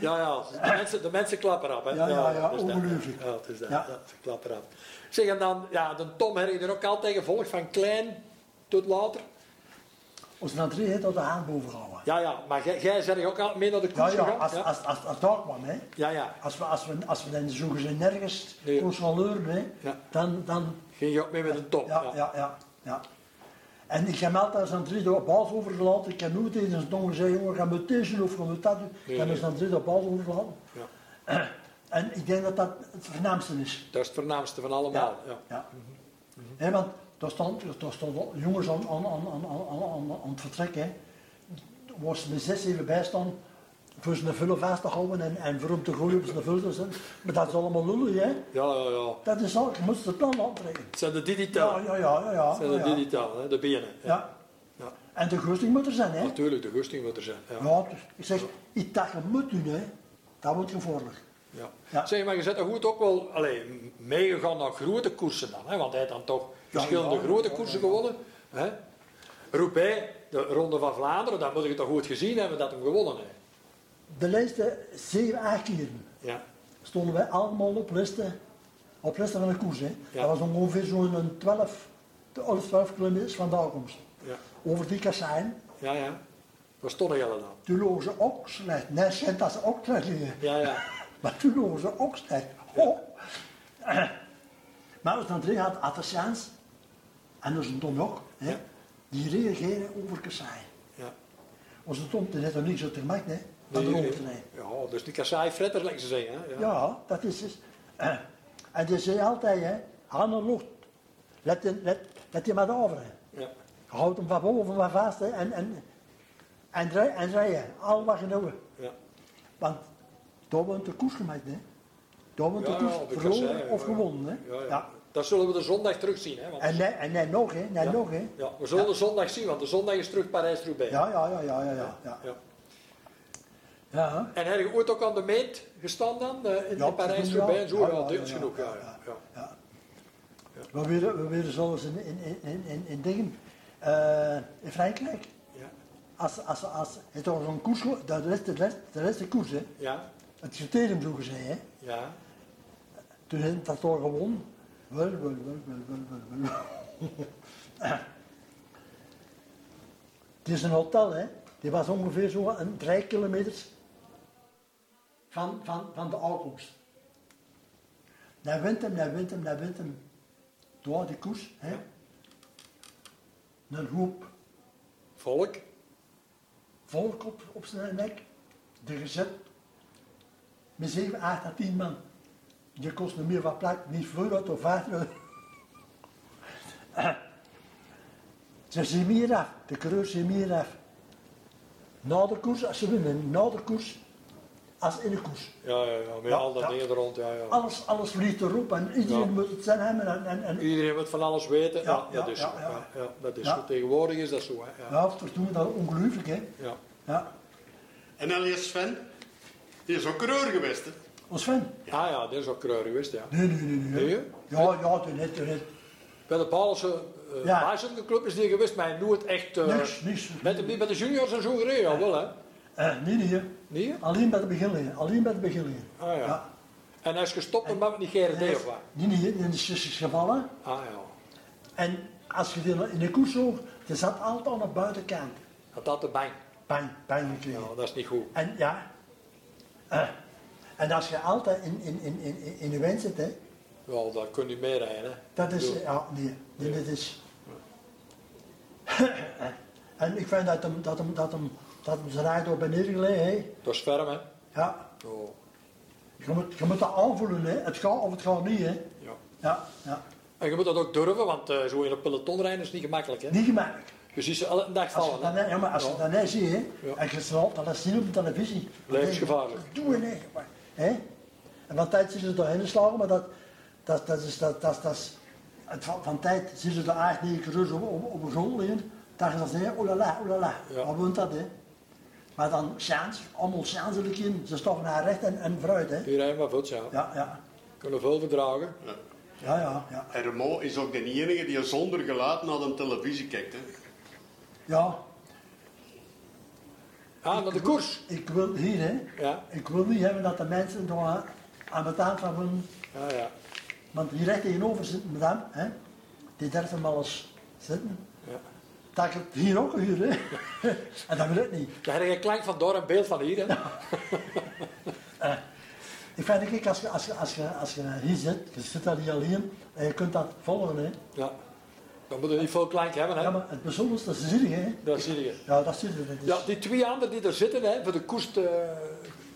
Ja, ja, de mensen, de mensen klappen af. Hè. Ja, ja, ja, dus dat. ongelooflijk. Ja, het is dat. Ja. Ja. ze klappen af. Zeg, en dan, ja, de Tom heb je er ook altijd gevolgd, van klein tot later. Onze André heeft dat de hand boven gehouden. Ja, ja, maar jij- jij bent ook al mee naar de Ja, koers ja, gegaan. als, ja. als, als, als dakman, hè. ja, ja. Als we, als we, als we dan zoeken ze nergens Nee. controleur, hè, Ja. dan, dan Ging je ook mee met de Tom. ja, ja, ja, ja. En ik heb altijd aan drie de baas overgelaten. Ik heb nooit tegen zijn tong gezegd, jongen, gaan we dit doen of gaan we dat doen. Nee, ik heb nee. eens aan drie de baas overgelaten. Ja. En ik denk dat dat het voornaamste is. Dat is het voornaamste van allemaal. Ja. Mhm. Ja. Hè, want daar stond, daar stond al jongens aan, aan, aan, aan, aan, aan, aan het vertrek, hè. Waar ze met zes even bij staan, voor ze een vullen vast te houden en, en voor hem te gooien op zijn vullen te zetten. Maar dat is allemaal lullig, hè. Ja, ja, ja. Dat is al, je moest het plan aantrekken. Het zijn de Ja, digitale. ja, ja, ja. ja, Het zijn de ja, ja. digitale, hè, de benen. Ja. Ja. Ja. En de goesting moet er zijn, hè? Natuurlijk, de goesting moet er zijn. Ja. Ja, dus ik zeg, iets dat je moet doen, hè? Dat wordt gevaarlijk. Ja. Ja. Zeg maar, je zet er goed ook wel allee, m- meegegaan naar grote koersen dan, hè? want hij heeft dan toch verschillende ja, grote ja, koersen ja, ja. gewonnen. Hè? Roubaix, de Ronde van Vlaanderen, dat moet je toch goed gezien hebben dat hem gewonnen heeft. De laatste zeven, acht keer Ja, stonden wij allemaal op listen, op listen van de koers, hè? Ja. Dat was ongeveer zo'n 12, 11, 12 kilometers van de aankomst. ja, Over die kassein, ja. ja. Waar stonden jullie dan? toen logen ze ook slecht. Nee, schijnt dat ze ook slecht liggen. Ja, ja. Maar toen logen ze ook slecht. Oh. Maar als dan drie had Atasiaans en onze Tom ook, hè, Ja. die reageren over Kassai. ja. Onze Tom die heeft er niks uit gemaakt, hè, van Nee, de nee. hoofdlijn. Ja, dus die kassaai fretter, lijkt ze zeggen. Hè? Ja. Ja, dat is het. En die zei altijd, hè, handen lucht, let, die- let, let die maar over. hè. Ja. Je houdt hem van boven maar vast hè, en, en, en, rij- en rijden, al wat nou- genoegen. Ja. Want daar wordt de koers gemaakt, hè. Daar wordt Ja, de ja, op de koers verloren kassaai, of ja. gewonnen, hè. Ja, ja. Ja. Dat zullen we de zondag terugzien. Hè? Want... En, nee, en nee, nog, hè. Nee, ja. nog, hè. Ja, we zullen de zondag zien, want de zondag is terug Parijs-Roubaix. Ja, ja, ja, ja, ja, ja. ja. Ja. ja. En heb je ooit ook aan de meet gestaan dan? eh, In Ja, Parijs, ja. Roubaix en zo? Ja, Ja, ja, dat ja, is ja, genoeg. Ja, ja, ja, ja. ja. We willen, we willen zelfs in, in, in- in, in, in dingen, eh, in Frankrijk, Ja. als, als, als, het was een koers, gewo- de laatste, de laatste, de laatste koers, hè. Ja, het criterium zo gezegd, hè. ja. toen heeft dat toch gewonnen. Wel, wel, wel, wel, wel, wel, wel. Het is een hotel, hè. Die was ongeveer zo een drie kilometers van, van, van de uitkomst. Hij wint hem, hij wint hem, hij wint hem. Door die koers. Hè? Een hoop Volk. volk op, op zijn nek. De gezet. Met 7, 8 à 10 man. Je kost niet meer wat plak, niet voor euro of 5 euro. Ze zien meer af, de coureurs zien meer af. Na de koers, als ze winnen, na de koers, als in de koers. Ja, ja, ja. Met Ja, al dat ja. dingen er rond. Ja, ja. Alles, alles vliegt erop en iedereen Ja. moet het zijn hebben. En, en, en, Iedereen moet van alles weten. Ja, Ja, dat ja, is ja, zo. ja. Ja, ja, dat is Ja. zo. Tegenwoordig is dat zo. Hè. Ja. ja, of toen dat ongelooflijk, hè? Ja. Ja. En Elias Sven, die is ook coureur geweest. Hè? Ons Sven? Ah ja, dat is ook kruier geweest, ja. Nee, nee, nee, nee. Nee, hè? Ja, ja, toen net, toen net. Bij de Paulse uh, Ja. Club is die geweest, maar nooit echt... eh, Niks, niks. Met, de- met de juniors en zo gereden, ja, wel hè. Eh, nee, nee. hè. Nee? Alleen bij de beginlijn. Alleen bij de beginlijn. Ah ja. En hij is gestopt omdat we het niet GRD of wat? Nee, nee, in de is gevallen. Ah ja. En als je die in de koers zag, die zat altijd aan de buitenkant. Dat had de bang. Pijn, pijn gekregen. Ja, dat is niet goed. En ja. eh, en als je altijd in, in, in, in, in de wind zit, hè, Ja, daar kun je mee rijden, hè. dat is. Ja. Ja, nee, nee, dat is. en ik vind dat hem, dat hem, dat hem, dat hem zijn eigen door beneden gelegen, hè. Dat is ferm, hè. Ja. Ja. Je moet, je moet dat aanvoelen, hè. Het gaat of het gaat niet, hè. ja. Ja, ja. En je moet dat ook durven, want eh, zo in een peloton rijden is niet gemakkelijk, hè. Niet gemakkelijk. Je ziet ze elke dag Als je vallen, dat, net- ja, maar als je Ja. dat net ziet, hè, Ja. en je snapt dat dat zien op de televisie. dan denk je, Levensgevaarlijk. wat Doe je nee, maar, hè? En van tijd zien ze er doorheen slagen, maar dat, dat, dat is, dat, dat, dat is, het, van, van tijd zien ze er eigenlijk niet gerust op, op, op een grond liggen. Dan "Oh gaan ze zeggen, oelala, oelala, Ja. wat woont dat, hè? Maar dan chance, allemaal chanselijk in, ze stappen naar recht en, en vooruit, hè? Die rijden maar voet, ja. Ja, ja, Kunnen veel verdragen. ja, ja, ja. En Remo is ook de enige die zonder geluid naar de televisie kijkt. Hè? ja. Ah, naar de koers. Ik wil hier, hè? Ja. Ik wil niet hebben dat de mensen daar aan- aan het tafel van Ja, ja. Want hier recht tegenover zit madame, hè? die durft hem alles zitten. Ja. Dat ik het hier ook huur, hè? en dat wil ik niet. Daar heb je een klank van door en beeld van hier, hè. Ik vind ik, als je, als, je, als, je, als je hier zit, je zit daar niet alleen, en je kunt dat volgen, hè? Ja. Dan moet je niet veel klank hebben, hè. Ja, maar het bijzonderste is zielig, hè? Dat zie je. Ja, dat zit er. Dat is, Ja, die twee anderen die er zitten, hè, voor de koers te,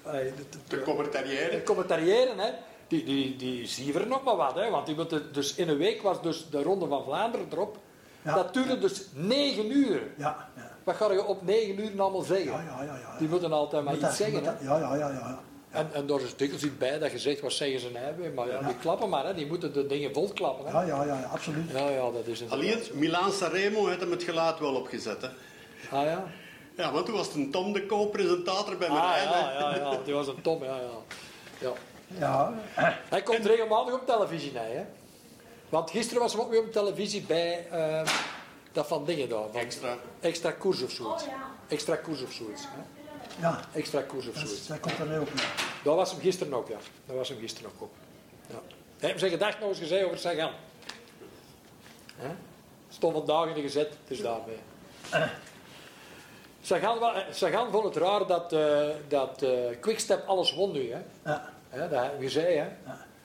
eh, de- de- De de commentariëren. commentariëren, hè, die, die, die zien er nog maar wat. Hè, want die moeten, dus in een week was dus de Ronde van Vlaanderen erop. Ja. Dat duurde dus negen uur. ja, ja. Wat ga je op negen uur allemaal zeggen? Ja, ja, ja, ja. Die moeten altijd maar Moet iets dat- zeggen. moet Hè. dat- Ja, ja, ja, ja. ja. En, en daar is dikwijls iets bij dat je zegt, wat zeggen ze nou weer? Maar ja, die klappen maar, hè, die moeten de dingen volklappen. Hè. Ja, ja, ja, ja, absoluut. Ja, ja, dat is een... Alleen Milan Sanremo heeft hem het geluid wel opgezet. Hè? Ah ja? Ja, want toen was het een Tom de co-presentator bij Ah Marijn. ja, hè. ja, ja, die was een tom, ja, ja. ja. Ja, Hij komt regelmatig op televisie, nee, hè? Want gisteren was hij ook weer op televisie bij eh, dat van dingen daar. Van Extra. Extra koers of zoiets. Oh, ja. Extra koers of zoiets. Hè? ja. Extra koers of Dat, is- zoiets. dat komt er ook in. Dat was hem gisteren ook, ja. Dat was hem gisteren ook. op. Ja. Hij heeft zijn gedachten nog eens gezegd over zijn gang. Hè? Stond vandaag in de gezet, dus daarmee. Sagan, wa- eh, Sagan vond het raar dat, eh dat eh, Quickstep alles won nu. Hè? Ja. Hè, dat hebben we zei, hè.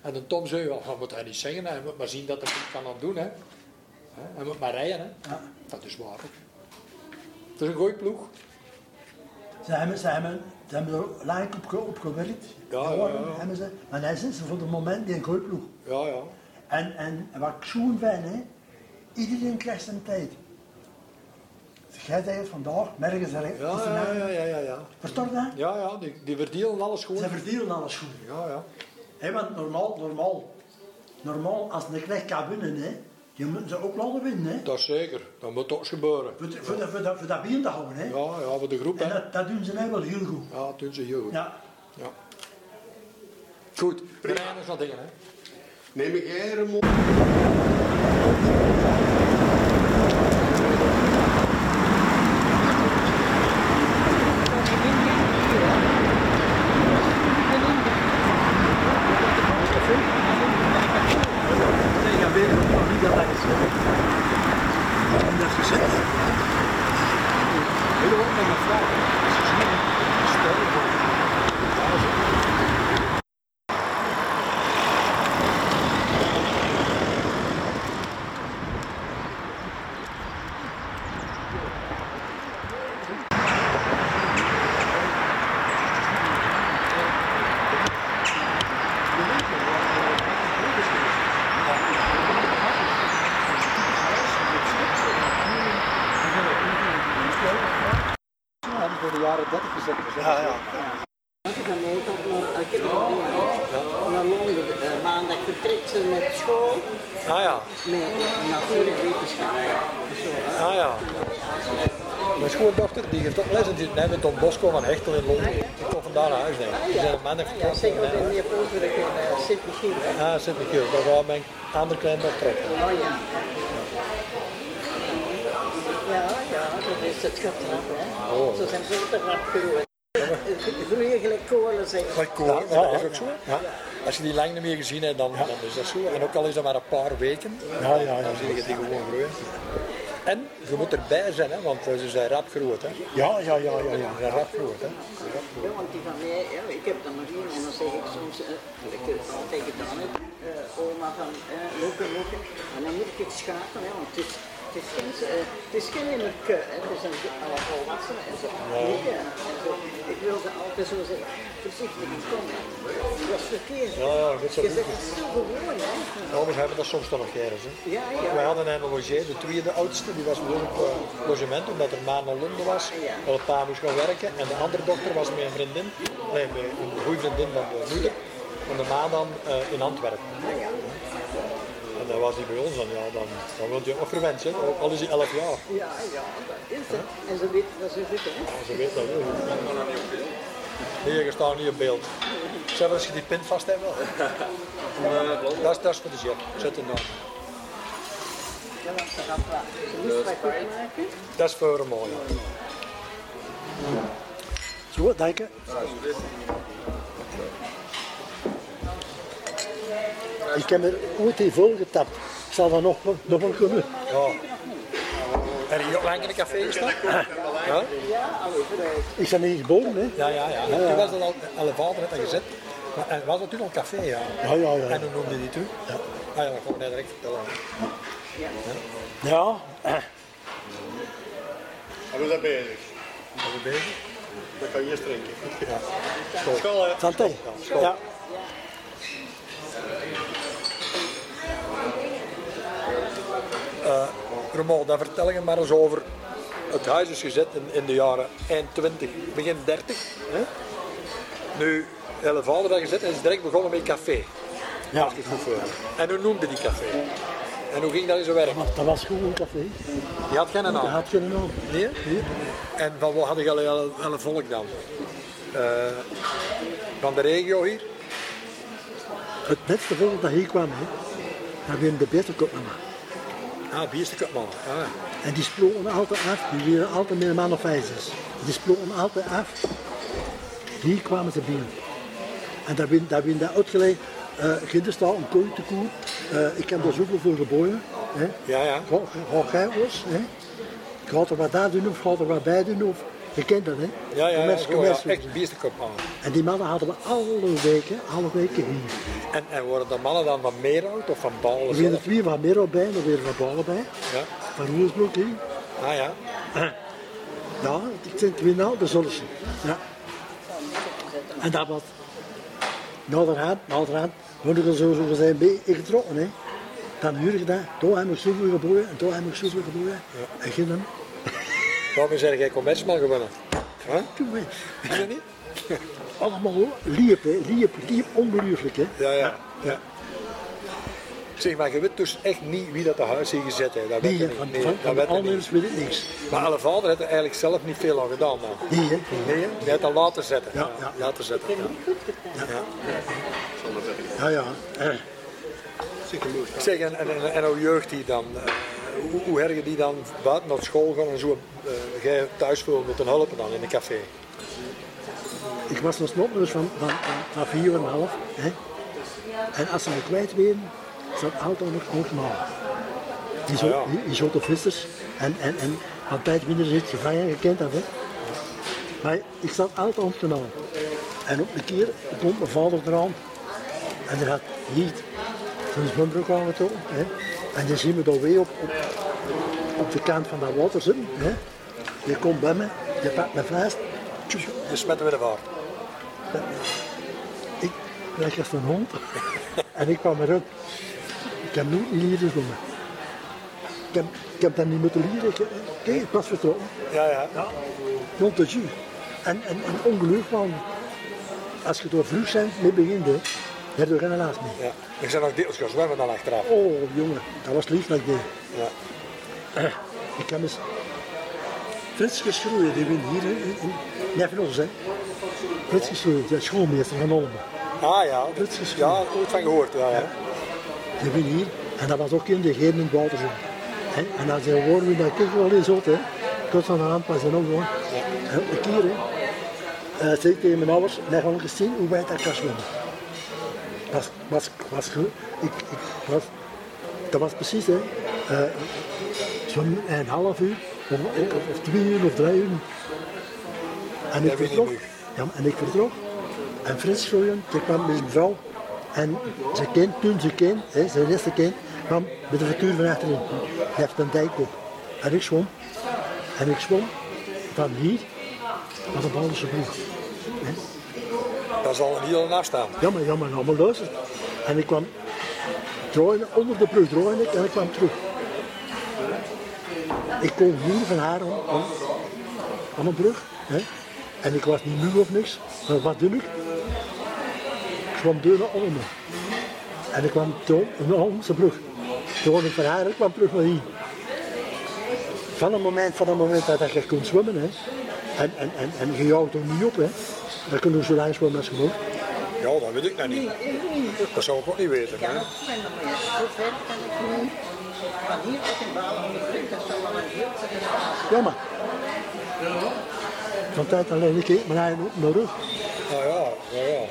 En dan Tom zei, "Ja, wat moet hij niet zeggen? hè? Hij moet maar zien dat hij het kan aan doen, hè. Hè, Hij moet maar rijden, hè. Ja. Dat is waar, hè. Het is een goeie ploeg. Ze hebben, ze hebben, ze hebben er lang op, ge- op gewerkt. Ja, ja, Jaren ja. Hebben ze, maar hij zit ze voor het moment in een goede ploeg. Ja, ja. En, en wat ik zo ben, hè, iedereen krijgt zijn tijd. Jij zegt vandaag, merken ze recht. Ja, ja, ja, ja, ja. Ja, Verstort dat? ja, ja die, die verdelen alles nou? Ze gewoon. verdienen alles goed. Ja, ja. Hè, want normaal, normaal, normaal, als een knecht kan winnen, hè, je moet ze ook laten winnen. Hè. Dat is zeker. Dat moet toch eens gebeuren. Voor, de- voor, de- voor, dat- voor dat been te houden. Hè. Ja, ja, voor de groep, En hè. dat, dat doen ze nou wel heel goed. Ja, dat doen ze heel goed. Ja. Ja. Goed, we rijden eens naar dingen, hè. Neem jij Remo? Hele hoop met mijn vragen. Ze zien, stellen, 30 gezet. is, hè. Van Nederland naar eh, Groningen. Naar Londen. Eh, maandag vertrekt ze met school. Ah ja, Met natuurlijk wetenschappen. Zo, hè. ah ja. Mijn schoondochter die geeft ook les en die neemt met Don Bosco van Hechtel in Londen. Die komt vandaar naar huis, denk ik. Die zijn op maandag Ah, Ja, verplaatst. zeg wat in die poster in eh, Sint Michiel. hè. Ah, zit ik hier. Dan gaan mijn andere kleindochter op. Oh ja. Ja, ja, dat is het getrap, hè. Ze zijn zo te rap groeien. Ze Groeien gelijk kolen, zeg. Ja, ja, dat is ook zo. Ja. Als je die lang niet meer gezien hebt, dan, dan is dat zo. En ook al is dat maar een paar weken, dan zie je die gewoon groeien. En je moet erbij zijn, hè, want eh, ze zijn rap groot. Hè. Ja, ja, ja, ja. ja. Ze zijn rap groot. Hè. Ja, want die van mij, ja, ik heb er nog één en dan zeg ik soms, eh, ik heb het altijd gedaan, hè, eh, oma van eh, loeken, loeken. En dan moet ik schaken, hè, want het is, het is geen, eh, het is geen in het hè, het is een alle volwassenen en zo. Loeken en zo. Ik wilde altijd zo zeggen, voorzichtig, kom hè. Dat is verkeerd. Ja, ja, goed zo Je zegt, goed. het is zo gewoon, hè. Ouders hebben dat soms toch nog eens. Hè. Ja, ja. Wij hadden een logeer, de tweede oudste, die was dus op eh, logement omdat er ma naar Londen was. Dat het pa moest gaan werken. En de andere dochter was met een vriendin, nee, met een goede vriendin van de moeder. En de ma dan eh, in Antwerpen. Ah, En dat was die bij ons dan, ja, dan, dan wil je ook verwend zijn, ook al is hij 11 jaar. Ja, ja, dat is het. En ze weten dat ze goed, hè. Ze weet dat wel. Nee, je staat niet op beeld. Zelfs als je die pin vast hebt wel. Dat is, dat is voor de zin. Zet hem dan. Ja, want ze gaat wat. Ze moest wat goed maken. Dat is voor een mooie. Zo, dank je. Ik heb er ooit in volgetapt. Ik zal dat nog, nog wel kunnen. Ja. Heb je ook lang in een café gestaan? Ja, Ik ben hier geboren, hè. ja, ja. ja. Toen was dat al elevator had dat gezet. Maar eh, was dat toen al café, ja? Ja, ja, ja. En hoe noemde die toen? Ja. Ah ja, dat kon ik mij direct vertellen. Ja, En Ah, we zijn bezig. Was je bezig? Dan kan je eerst drinken. Ja. School, hè. santé. Ja. Ramon, dan vertel je maar eens over. Het huis is gezet in, in de jaren eind 20, begin 30. Hè? Nu, elevator dat gezet en is direct begonnen met café. ja. Als ik het goed voor heb. En hoe noemde die café? En hoe ging dat in zijn werk? Maar dat was gewoon een café. Die had geen Dat naam. had geen naam. Nee? En van wat hadden jullie alle, alle volk dan? Eh, van de regio hier? Het beste volk dat hier kwam, hè. Dat waren de beste kopmannen. Ah, Biesterkutman. Ah. En die sprongen altijd af. Die waren altijd met een man of vijf, zes. Die sprongen altijd af. Hier kwamen ze binnen. En daar ben, daar ben daar uitgelegd. eh Ginderstaal, een kooi te koer. Eh, ik heb daar zoveel voor geboden. Hè. Ja, ja. Ga, ga, ga jij ons, hè. Gaat er wat daar doen of gaat er wat bij doen of... Je kent dat, hè? Ja, ja, ja, Commerce, zo, ja. commerce. Echt Biesterkutman. En die mannen hadden we alle weken, alle weken hier. En, en worden de mannen dan van Meerhout of van Balen? Er zijn er twee van Mero bij, er weer van Balen bij. Ja. Van Roersbroek hier. Ah ja. Ja, het zijn twee nou, de Zollissen. Ja. En dat was naderhand, naderhand, worden we zo, zo zijn mee ingetrokken. Hè. Dan huur ik dat, toen heb ik zoveel geboren en toen heb ik zoveel geboren. En ging hem, Waarom zijn jij commercial gewonnen? Huh? toen weer. Is dat niet? allemaal liep, hè. liep, liep, onbeluurlijk. Hè. Ja, ja. ja. Zeg maar, je weet dus echt niet wie dat de huis hier gezet heeft. Dat weet Nee, je hè, niet. van, Nee, van, dat van weet je al niet. mensen weet ik niks. Maar alle vader heeft er eigenlijk zelf niet veel aan gedaan. Man. Nee, hè. Nee, hè? die heeft dat laten zetten. Ja, ja. Laten zetten. ja. Ja, ja. hè. Zeg, en, en, en, en uw jeugd die dan, eh, hoe, hoe hergen die dan buiten naar school gaan en zo, eh, jij thuis veel moeten helpen dan in een café? Ik was nog snotneus van, van, van, van vier en een half. Hè. En als ze me kwijt waren, zat altijd nog ontmaal. Die zo, Ah, ja. die, die zotte vissers. En, en, en van tijd minder zit gevangen, je kent dat hè. Maar ik zat altijd ontmaal. En op een keer komt mijn vader eraan. En er had niet zijn zwembroek aangetrokken. Hè. En die zien we dan weer op, op, op de kant van dat water zitten. Hè. Je komt bij me, je pakt me vast. Tjoep. Dus met de Willevaart. Ik leg als een hond en ik kwam eruit. Ik heb nooit niet leren zwemmen. Ik heb, ik heb dat niet moeten leren. Ik, ik ik was vertrokken. Ja, ja. Rond de jus. En, en, en ongeluk van, als je door vroeg bent mee begint, hè, heb je er geen last mee. Ja. Ik ben nog deels gaan zwemmen dan achteraf. Oh jongen, dat was lief dat ik deed. Ja. Ik heb eens Frits Geschroeien, die wint hier in, in, in Neffenels, hè. Frits Geschroeien, de schoolmeester van Olmen. Ah ja, Dat is- ja, ooit van gehoord. Ja, ja. Die wint hier, en dat was ook in de Geerming Woutersen. hè. En als je hoort, dan kijk je wel eens op, hè. Kort van de hand, maar zijn ook gewoon. Hè, Een keer, hè. Eh, zei ik tegen mijn ouders, wij gaan eens zien hoe wij dat kan zwemmen. Was, was, was goed. Ik, ik, was, dat was precies, hè. Eh, zo'n een half uur, of, of, of twee uur, of drie uur. En ik weet niet vertrok. meer. Ja, en ik vertrok. En Frits Groeien, die kwam met zijn vrouw. En ze kind, toen ze kind, hè, zijn eerste kind, kwam met de vertuur van achterin. Die heeft een dijk op. En ik zwom. En ik zwom van hier naar de Balderse broek. Dat zal er niet al naast staan. Jammer, jammer, allemaal luister. En ik kwam draaien, onder de brug draaien ik en ik kwam terug. Ik kon niet van haar aan, aan, aan een brug. Hè. En ik was niet moe of niks. Maar wat doe ik? Ik kwam deur naar onder me. En ik kwam door naar onze brug. Toen ik van haar ik kwam terug naar hier. Van het moment, van het moment dat je kunt zwemmen, hè. En, en, en, en je houdt er niet op, hè. Dan kunnen we zo lang zwemmen als je moet. Ja, dat weet ik nou niet. Dat zou ik ook niet weten. kan Hè. Ah, ook zwemmen, maar ja, zo ver kan ik niet. Van hier tot in Balen, onder de brug, dat zou wel een heel verre gaan. Jammer. Van tijd alleen ik keek mijn eigen op mijn rug. Nou ja, ja, ja.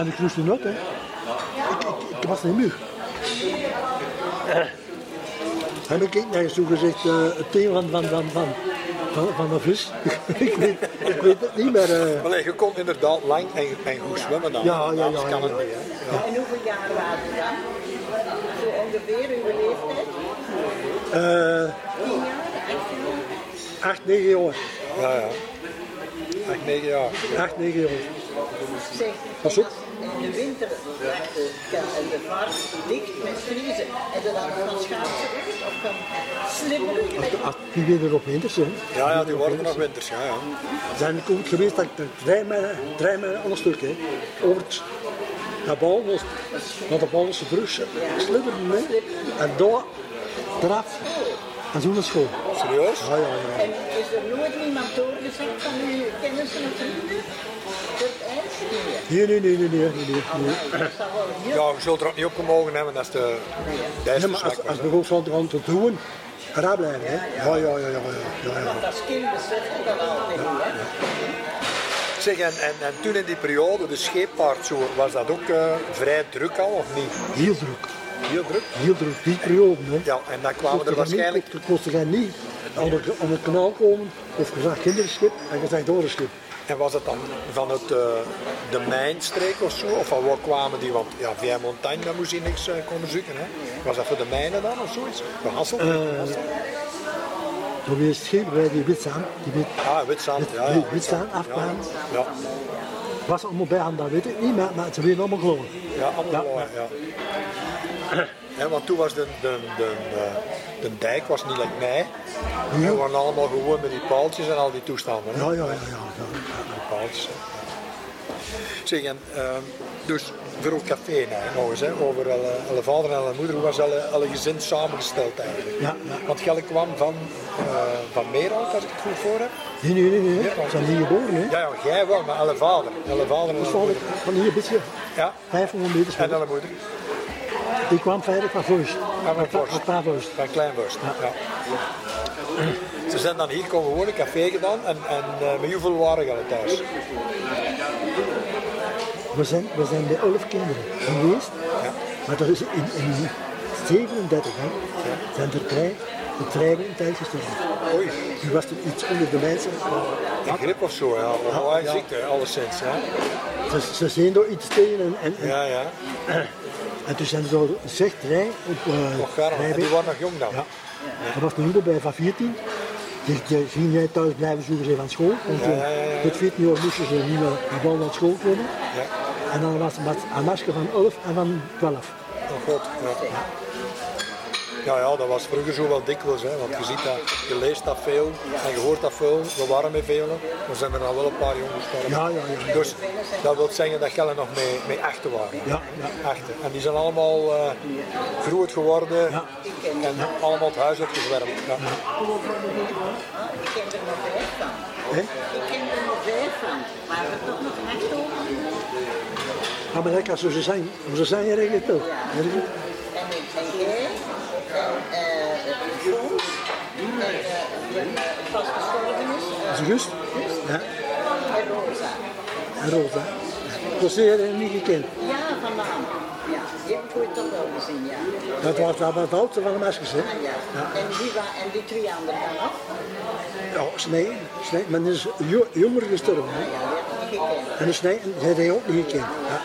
En ik moest er nog, hè. Ik, ik, ik was niet moe. En ik keek naar je toegezegd eh het teel van, van, van, van, van, van de vis. ik, weet, ik weet het niet meer. eh. Maar nee, je kon inderdaad lang en, en goed zwemmen dan. Ja, ja, ja, Anders kan ja, het ja. niet. Hè. En hoeveel jaar waren we dan? Zo ongeveer uw leeftijd? Eh, Tien jaar, acht acht, jaar? negen jaar. Ja, ja. Echt negen jaar. Acht, negen jaar. Zeg, Pas op. in de winter raakt de kar en de vaart dicht met vriezen. En dan laat het van schaatsen weg of van slimmeren. gelijk. Als Ah, die weer erop winters, hè. Ja, ja, die worden nog winters. Ja, ja. zijn ik ook geweest dat ik de drie mijlen, drie mijlen aan een stuk, hè, over het, naar Balmos, naar de Balmose brug slibberden, hè, en daar, eraf, en zo naar school. Serieus? Ah, Ja, ja, ja. En is er nooit niemand doorgezegd van uw kennissen of vrienden? Dat is niet meer. Nee, nee, nee, nee, nee, nee, nee. Nou, dat zal wel heel Ja, je zult er ook niet op gemogen hebben als de Nee, dijs maar verslekt als, als was. we ook zo'n hand te doen, raar blijven, hè. Ah, Ja, ja, ja, ja, ja, ja, ja. Want als kind besef je dat altijd niet, hè? Zeg, en, en, en toen in die periode, de scheepvaartsoer, was dat ook eh, vrij druk al of niet? Heel druk, Heel druk. heel druk, die periode, hè. Ja, en dan kwamen Kostte er geen waarschijnlijk... niet- Kostte jij niet aan het, aan het kanaal komen, of je zag kinderschip en je zag dorenschip. En was het dan van het, eh, de mijnstreek of zo? Of van waar kwamen die? Want ja, via Montagne daar moest je niks eh, komen zoeken. Hè? Was dat voor de mijnen dan of zoiets? Van Hasselt? Eh, Hasselt? Toen wees schip bij die witsaan, die wit, Ah, Witzand. Ja, ja. die witsaan afkwam. Ja, Was allemaal bij hem, dat weet ik niet, maar, maar ze weten allemaal gewoon. ja allemaal ja, ja. Hè, want toen was de, de, de, eh, de dijk was niet like mij. We waren allemaal gewoon met die paaltjes en al die toestanden. hè. Ja, ja, ja, ja. ja. Paaltjes, hè. Zeg, en, ehm, dus voor het café nou, nog eens, hè, over alle, alle vader en alle moeder, hoe was alle, alle gezin samengesteld eigenlijk? Ja, ja. Want Gelle kwam van, eh van Meerhout, als ik het goed voor heb. Nee, nee, nee, nee. Ze zijn hier geboren, hè. Ja, ja, jij wel, maar alle vader. Alle vader en Dus alle van, moeder. van hier een beetje, Ja, 500 meter en verder. alle moeder. Die kwam veilig van Voorst. Van mijn vorst. Van Voorst. Van Kleinvorst. Ja. Ze zijn dan hier komen wonen, café gedaan en, en eh, met hoeveel waren jullie thuis? We zijn, we zijn met 11 kinderen geweest, maar dat is in, in 37, hè, zijn er drie, de drie in tijd gestorven. Oei, Nu was er iets onder de mensen. een grip of zo, ja. Of Ja, een ja. ziekte, alleszins. Hè. Ze, ze zijn door iets tegen en, en, en, Ja, ja. en toen zijn ze door zegt rij op eh Och, gaar, en Rijbeek. die waren nog jong dan. Ja. Er was een jongen bij van 14. Die, die ging jij thuis blijven zoeken ze van school. Want Ja, ja, ja, ja. eh, tot 14 jaar moesten ze niet meer naar bal naar school komen. Ja. En dan was het met een masker van 11 en van 12. Oh god, ja. Ja, ja, dat was vroeger zo wel dikwijls. Hè, want je, ziet dat, je leest dat veel en je hoort dat veel. We waren met velen. Er zijn er al wel een paar jongens gestorven. Ja, ja, ja. Dus dat wil zeggen dat Gellen nog mee, mee achter waren. Ja, Achter. En die zijn allemaal eh groot geworden Ja. en allemaal het huis uitgezwermd. Ja. Ah, ik ken er nog vijf van. Hè? Ik ken er nog vijf van. Maar we hebben toch nog een acht over. Ja, maar dat kan zo zijn. Zo zijn je eigenlijk toch. Weet je het? En ik en jij. En eh, Joos. En eh, een eh, vastgestorven is. eh, Dat is rust. Ja. En Rosa. En Rosa. Dat zeer eh, niet gekend. Ja, van naam. Ja, die heb ik ooit toch wel gezien, ja. Dat was, dat was het oudste van de meisjes, hè? Ah, ja. En, die wa- en die twee anderen dan af. Ja, snij, snij. Men is jo- jonger gestorven, hè? Ja, die heb ik niet gekend. Ah, En de snij, die heb je ook niet gekend. Ja.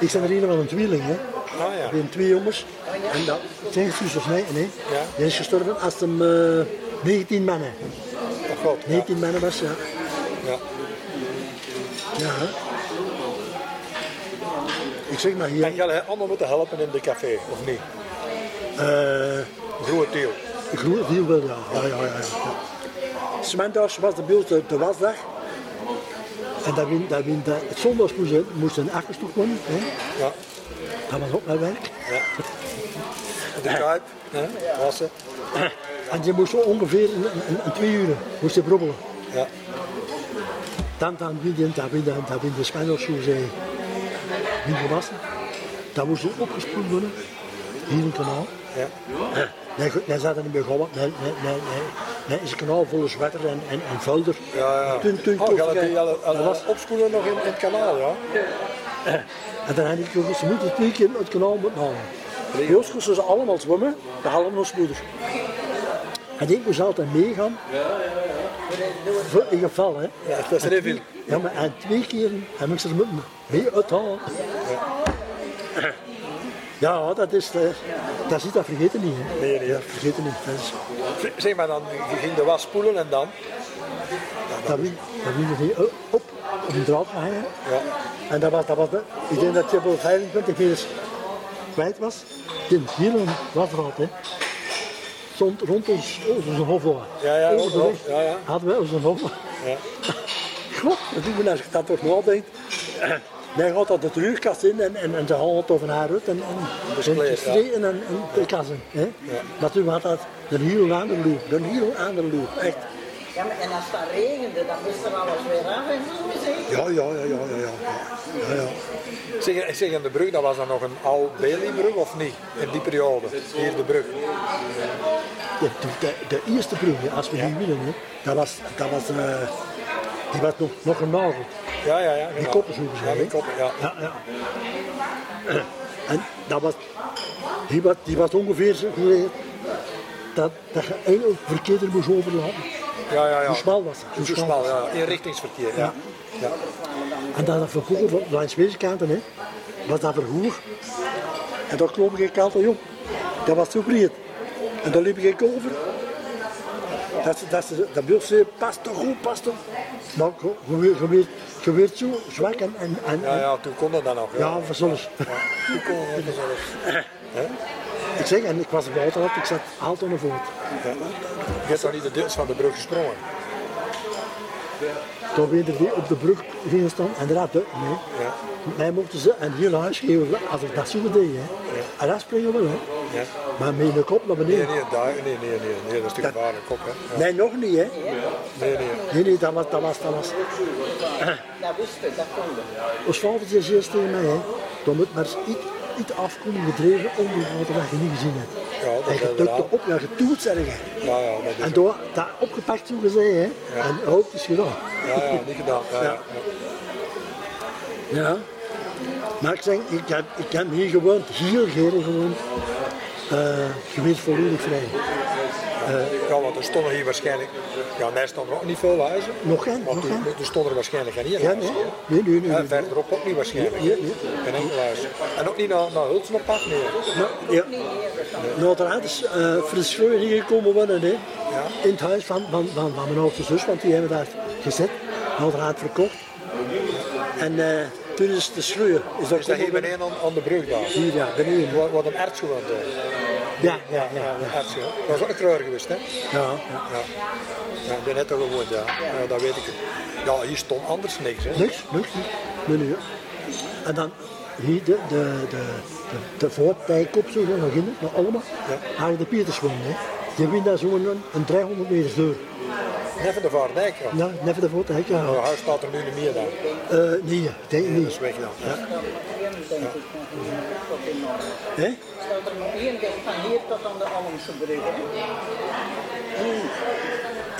Ik ben er hier van een tweeling, hè? Ah, ja. Ik ben twee jongens. En dat zijn zusjes, snij, nee. Ja. Die is gestorven als hem eh, 19 mannen. Dat klopt. Ja. 19 mannen was, ja. Ja. Ja, hè. Ik zeg maar hier, En Gellen, heeft allemaal moeten helpen in de café, of niet? eh Een groot deel. groen viel wel, ja. ja, ja, ja, ja. S'middags was de beeld de, de wasdag. En dat win, dat win, dat, eh, het zondags moest, een- moest een achterstoel komen. Hè. Ja. Dat was ook mijn werk. De Kuip, hè? Wassen. En je moest zo ongeveer een, een, een twee uur moest je brobbelen. Ja. Dan, dan, wie dan, dan, wie dan, dan, wie de smiddags moest hij niet gewassen. Dan moest er opgespoeld worden. Hier in het kanaal. Ja. Nee, goed, nee, ze hadden niet meer gehouden. Nee, nee, nee, nee. Nee, is een kanaal vol zwetter en, en, en vuilder. Ja, ja. Toen, toen, oh, toen- Gellen, die Gellen, dat was, was opschoenen nog in, in het kanaal, ja? En dan heb ik gezegd, ze moeten twee keer het kanaal moeten halen. Bij ons moesten ze allemaal zwemmen, behalve ons moeder. En ik moest altijd meegaan. Voor in geval, hè. Ja, dat is er even. Ja, maar en twee keer heb ik ze moeten mee uithalen. Ja, dat is... eh, Dat zit, dat vergeten niet, hè. Nee, nee. Ja, vergeten niet. Dat is... Zeg maar dan, je ging de was spoelen en dan? Dat wil, dat wil je niet op, op een draad gaan hangen. Ja. En dat was, dat was, de- ik denk dat je wel 25 meters kwijt was. In het hele wasdraad, hè. Stond rond ons onze hofwaar. Ja, ja, Over de hof, weg ja, ja. Hadden wij onze hofwaar. Ja. God, dat doet me als ik dat toch nadenk. Hij gaat dat de terugkast in en, en, en ze halen het over haar uit en, en Dus kleed, ja. en, en, en de kassen. Hè? Maar toen had dat een heel andere loop, een heel andere loop, echt. Ja, maar en als dat regende, dan moest er alles weer af en zo, zeg. Ja, ja, ja, ja, ja, ja. ja, ja. Zeg, zeg, en de brug, dat was dan nog een oude Baileybrug of niet? In die periode, hier de brug. De, de, de- de eerste brug, hè, als we die winnen, hè, dat was, dat was, eh, die was nog, nog een nagel. Ja, ja, ja. Die ja. koppen zoeken ze. Ja, die hè. koppen, ja. Ja, ja. En dat was, die was, die was ongeveer zo gelegen dat, dat je eigenlijk verkeerd er moest overlaten. Ja, ja, ja. Hoe smal was het? Hoe smal, ja. Inrichtingsverkeer, ja. ja. En dat vervoer van- langs deze kanten, hè, was dat vervoer. En dat klopte ik altijd, jong. Dat was zo breed. En daar liep ik over. Dat, ze- dat, ze- dat beeld zei, past toch goed, past toch. Maar je- je werd- je werd- je werd zo zwak en... en, en Ja, ja, toen kon dat dan nog. ja, van alles. toen kon dat nog zelfs. Ik zeg, en ik was er altijd, ik zat altijd onder voort. Je hebt toch niet de deels van de brug gesprongen? Toen weet ik die op de brug gingen staan en raad uit mee. Ja. Mij mochten ze een heel huis geven als ik dat zo deed. Hè. En dat springen we wel, hè. ja. Maar met de kop naar Nee, beneden. nee, daar, nee, nee, nee, nee, dat is te gevaarlijk ook, hè. Ja. Nee, nog niet, hè. Nee, nee. Nee, nee, dat was, dat was, dat was. Dat wist ik, dat kon ik. Ons vader zei eerst tegen mij, hè, dan moet maar iets, iets afkomen gedreven onder water dat je niet gezien hebt. Ja, dat en je inderdaad. duikt erop, ja, je doet zeggen. Ja, ja, dat is En door dat opgepakt, zo gezegd, hè. En ook is gedaan. Ja, ja, niet gedaan. Ja, ja. Ja. Maar ik zeg, ik heb, ik heb hier gewoond, hier geren gewoond. Eh, je weet volledig vrij. Ja, want er stonden hier waarschijnlijk... Ja, daar stonden ook niet veel huizen. Nog geen, Maar nog toen- geen. toen stonden er waarschijnlijk geen hier Ja, huizen, nee. hè. Nee, nee, nee. En nee. verderop ook niet waarschijnlijk. Ja, ja. Geen enkel huis. En ook niet naar, naar Hulsen op pad meer. Dus Nou, ja. Nou, daarna is eh Frits Schreuer hier gekomen wonen, hè. In het huis van, van, van, van mijn oudste zus, want die hebben daar gezet. Nou, daarna het verkocht. En eh, toen is de Schreuer... Is, Is dat hier beneden aan, aan de brug daar? Hier, ja, beneden. Wat, wat een erts gewoond. hè. Ja, ja, ja. ja. Echt, ja. Dat is ook treurig geweest, hè? Ja. ja. ja. ik ben net al gewoond, ja. ja. Dat weet ik. Ja, hier stond anders niks, hè? Niks, niks, niks. Nee, nee, ja. En dan hier de, de, de, de, de voortijkop, zo gaan nog in, maar allemaal. Ja. Harry de Pieters wonen, hè. Die wint daar zo'n een, een 300 meter deur. Neven de Vaardijk, ja. Ja, never de voortijk, ja. Nou, huis staat er nu niet meer dan. Eh, nee, ja, ik denk ik Dat is niet. weg dan. Ja. Hè? Staat er nog één ding van hier tot aan de Almse brug. hè?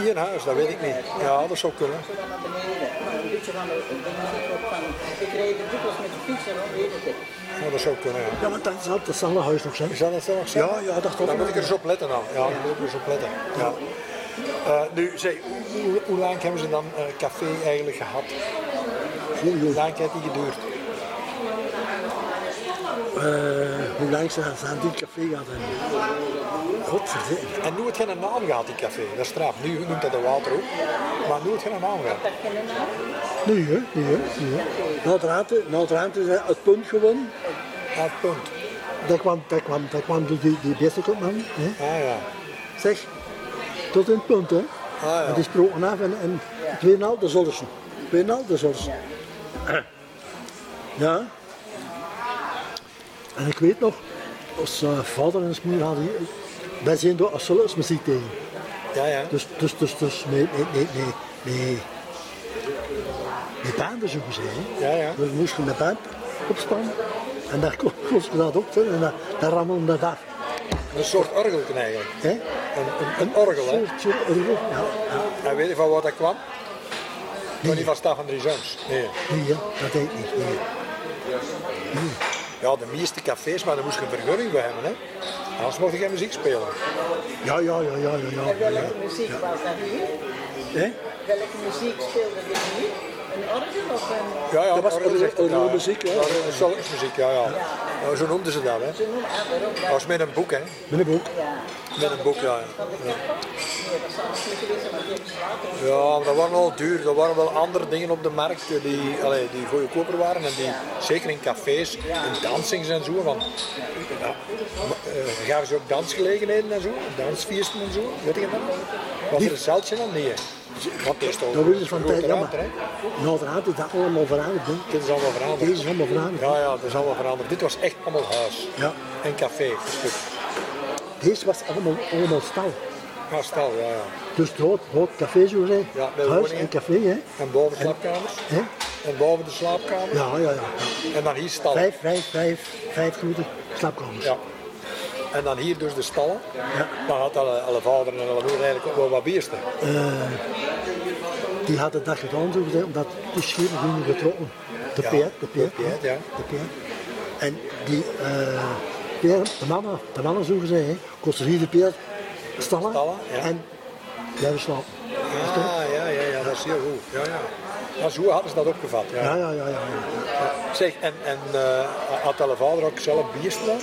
Hier in huis, dat weet ik niet. Ja, dat zou kunnen. Zo dan naar beneden. Maar een beetje van de, de muziek ook van. Ik reed er dikwijls met de fiets en dan weet ik het. Ja, dat zou kunnen, ja. Ja, want dat zal het zal een huis nog zijn. Is dat het zo? Ja, ja, dat klopt. Daar moet ik er eens op letten dan. Ja, daar moet ik er eens op letten. Ja. Eh, nu, zeg, hoe, hoe, hoe lang hebben ze dan eh, café eigenlijk gehad? Hoe lang heeft die geduurd? Eh, hoe lang ze ze aan dit café gaat hebben. Godverdikke. En nu het geen naam gehad, die café. Dat is straf. Nu noemt dat de Waterhoek. Maar nu het geen naam gehad. Nee, hè? Nee, hè? Nee, hè? Nou, het raamte- nou, het raamte is het punt gewonnen. Ja, het punt. Daar kwam, daar kwam, daar kwam die, die, die beste kopman. Hè? Ah ja. Zeg, tot in het punt, hè? ja. En die sproken af en, en 2,5 de Zoldersen. 2,5 de Zoldersen. Ja. En ik weet nog, als eh, vader en zijn moeder hadden hier, wij zijn door Assolus muziek tegen. Ja, ja. Dus, dus, dus, dus, nee, nee, nee, nee, nee. Met banden zo gezegd. hè. Ja, ja. Dus we moesten met band opspannen. En daar kon, kon ze dat op hè, en daar, daar rammelde dat af. Een soort orgelken eigenlijk. Hè? Een, een, een orgel, hè. Soort, soort orgel, ja. ja. En weet je van waar dat kwam? Toch niet van Staffan Rizans. Nee. Nee, hè, dat deed ik niet. Nee. Ja, de meeste cafés, maar daar moest je een vergunning bij hebben, hè. Anders mocht je geen muziek spelen. Ja, ja, ja, ja, ja. En ja, ja. welke muziek was dat hier? Hè? Welke muziek speelde dit hier? Een orgel of een... Ja, ja, Dat was orgel zegt het, orgelmuziek, hè? Orgel- Solkmuziek, ja, ja. Nou, Zo noemden ze dat, hè. Ze noemen ah, waarom Dat dat? was met een boek, hè. Met een boek. Ja. Met een boek, ja. ja. Van de kapper? Nee, dat zou misschien geweest zijn, maar die hebben ze later Ja, maar dat waren wel duur. Dat waren wel andere dingen op de markt eh, die, allee, die goedkoper waren. En die, zeker in cafés, in dansings en zo. Van, ja, ma- eh, gaven ze ook dansgelegenheden en zo? Dansfeesten en zo? Weet je dat? Was er een zeldje dan? Nee. hè. Want het is toch Dat willen ze van grote tijd, ja, maar. ruimte, hè. Nou, uiteraard is dat allemaal veranderd, hè. Dit is allemaal veranderd. Deze is allemaal veranderd. Ja, ja, dat is allemaal veranderd. Dit was echt allemaal huis. Ja. En café, een stuk. Deze was allemaal, allemaal stal. Ja, stal, ja, ja. Dus het rood, rood café, zo gezegd. Ja, bij de Huis woningen. en café, hè. En boven de slaapkamers. Hè? En boven de slaapkamer. Ja, ja, ja. En dan hier stallen. Vijf, vijf, vijf, vijf grote slaapkamers. Ja. En dan hier dus de stallen. Ja. Dan had alle, alle vader en alle moeder eigenlijk ook wel wat biersten. Die hadden dat gedaan, zo gezegd, omdat de schepen gingen getrokken. De Ja, Peer, de Peer. de Peert, ja. De Peer. En die eh Peer, de mannen, de mannen zo gezegd, hè, kosten vier de Peer stallen, Stallen, ja. en blijven slapen. Ah, ja, ja, ja, dat is heel goed. Ja, ja. Maar zo hadden ze dat opgevat. Ja. Ja, ja, ja, ja. ja. Zeg, en, en eh, had alle vader ook zelf biersten? dan?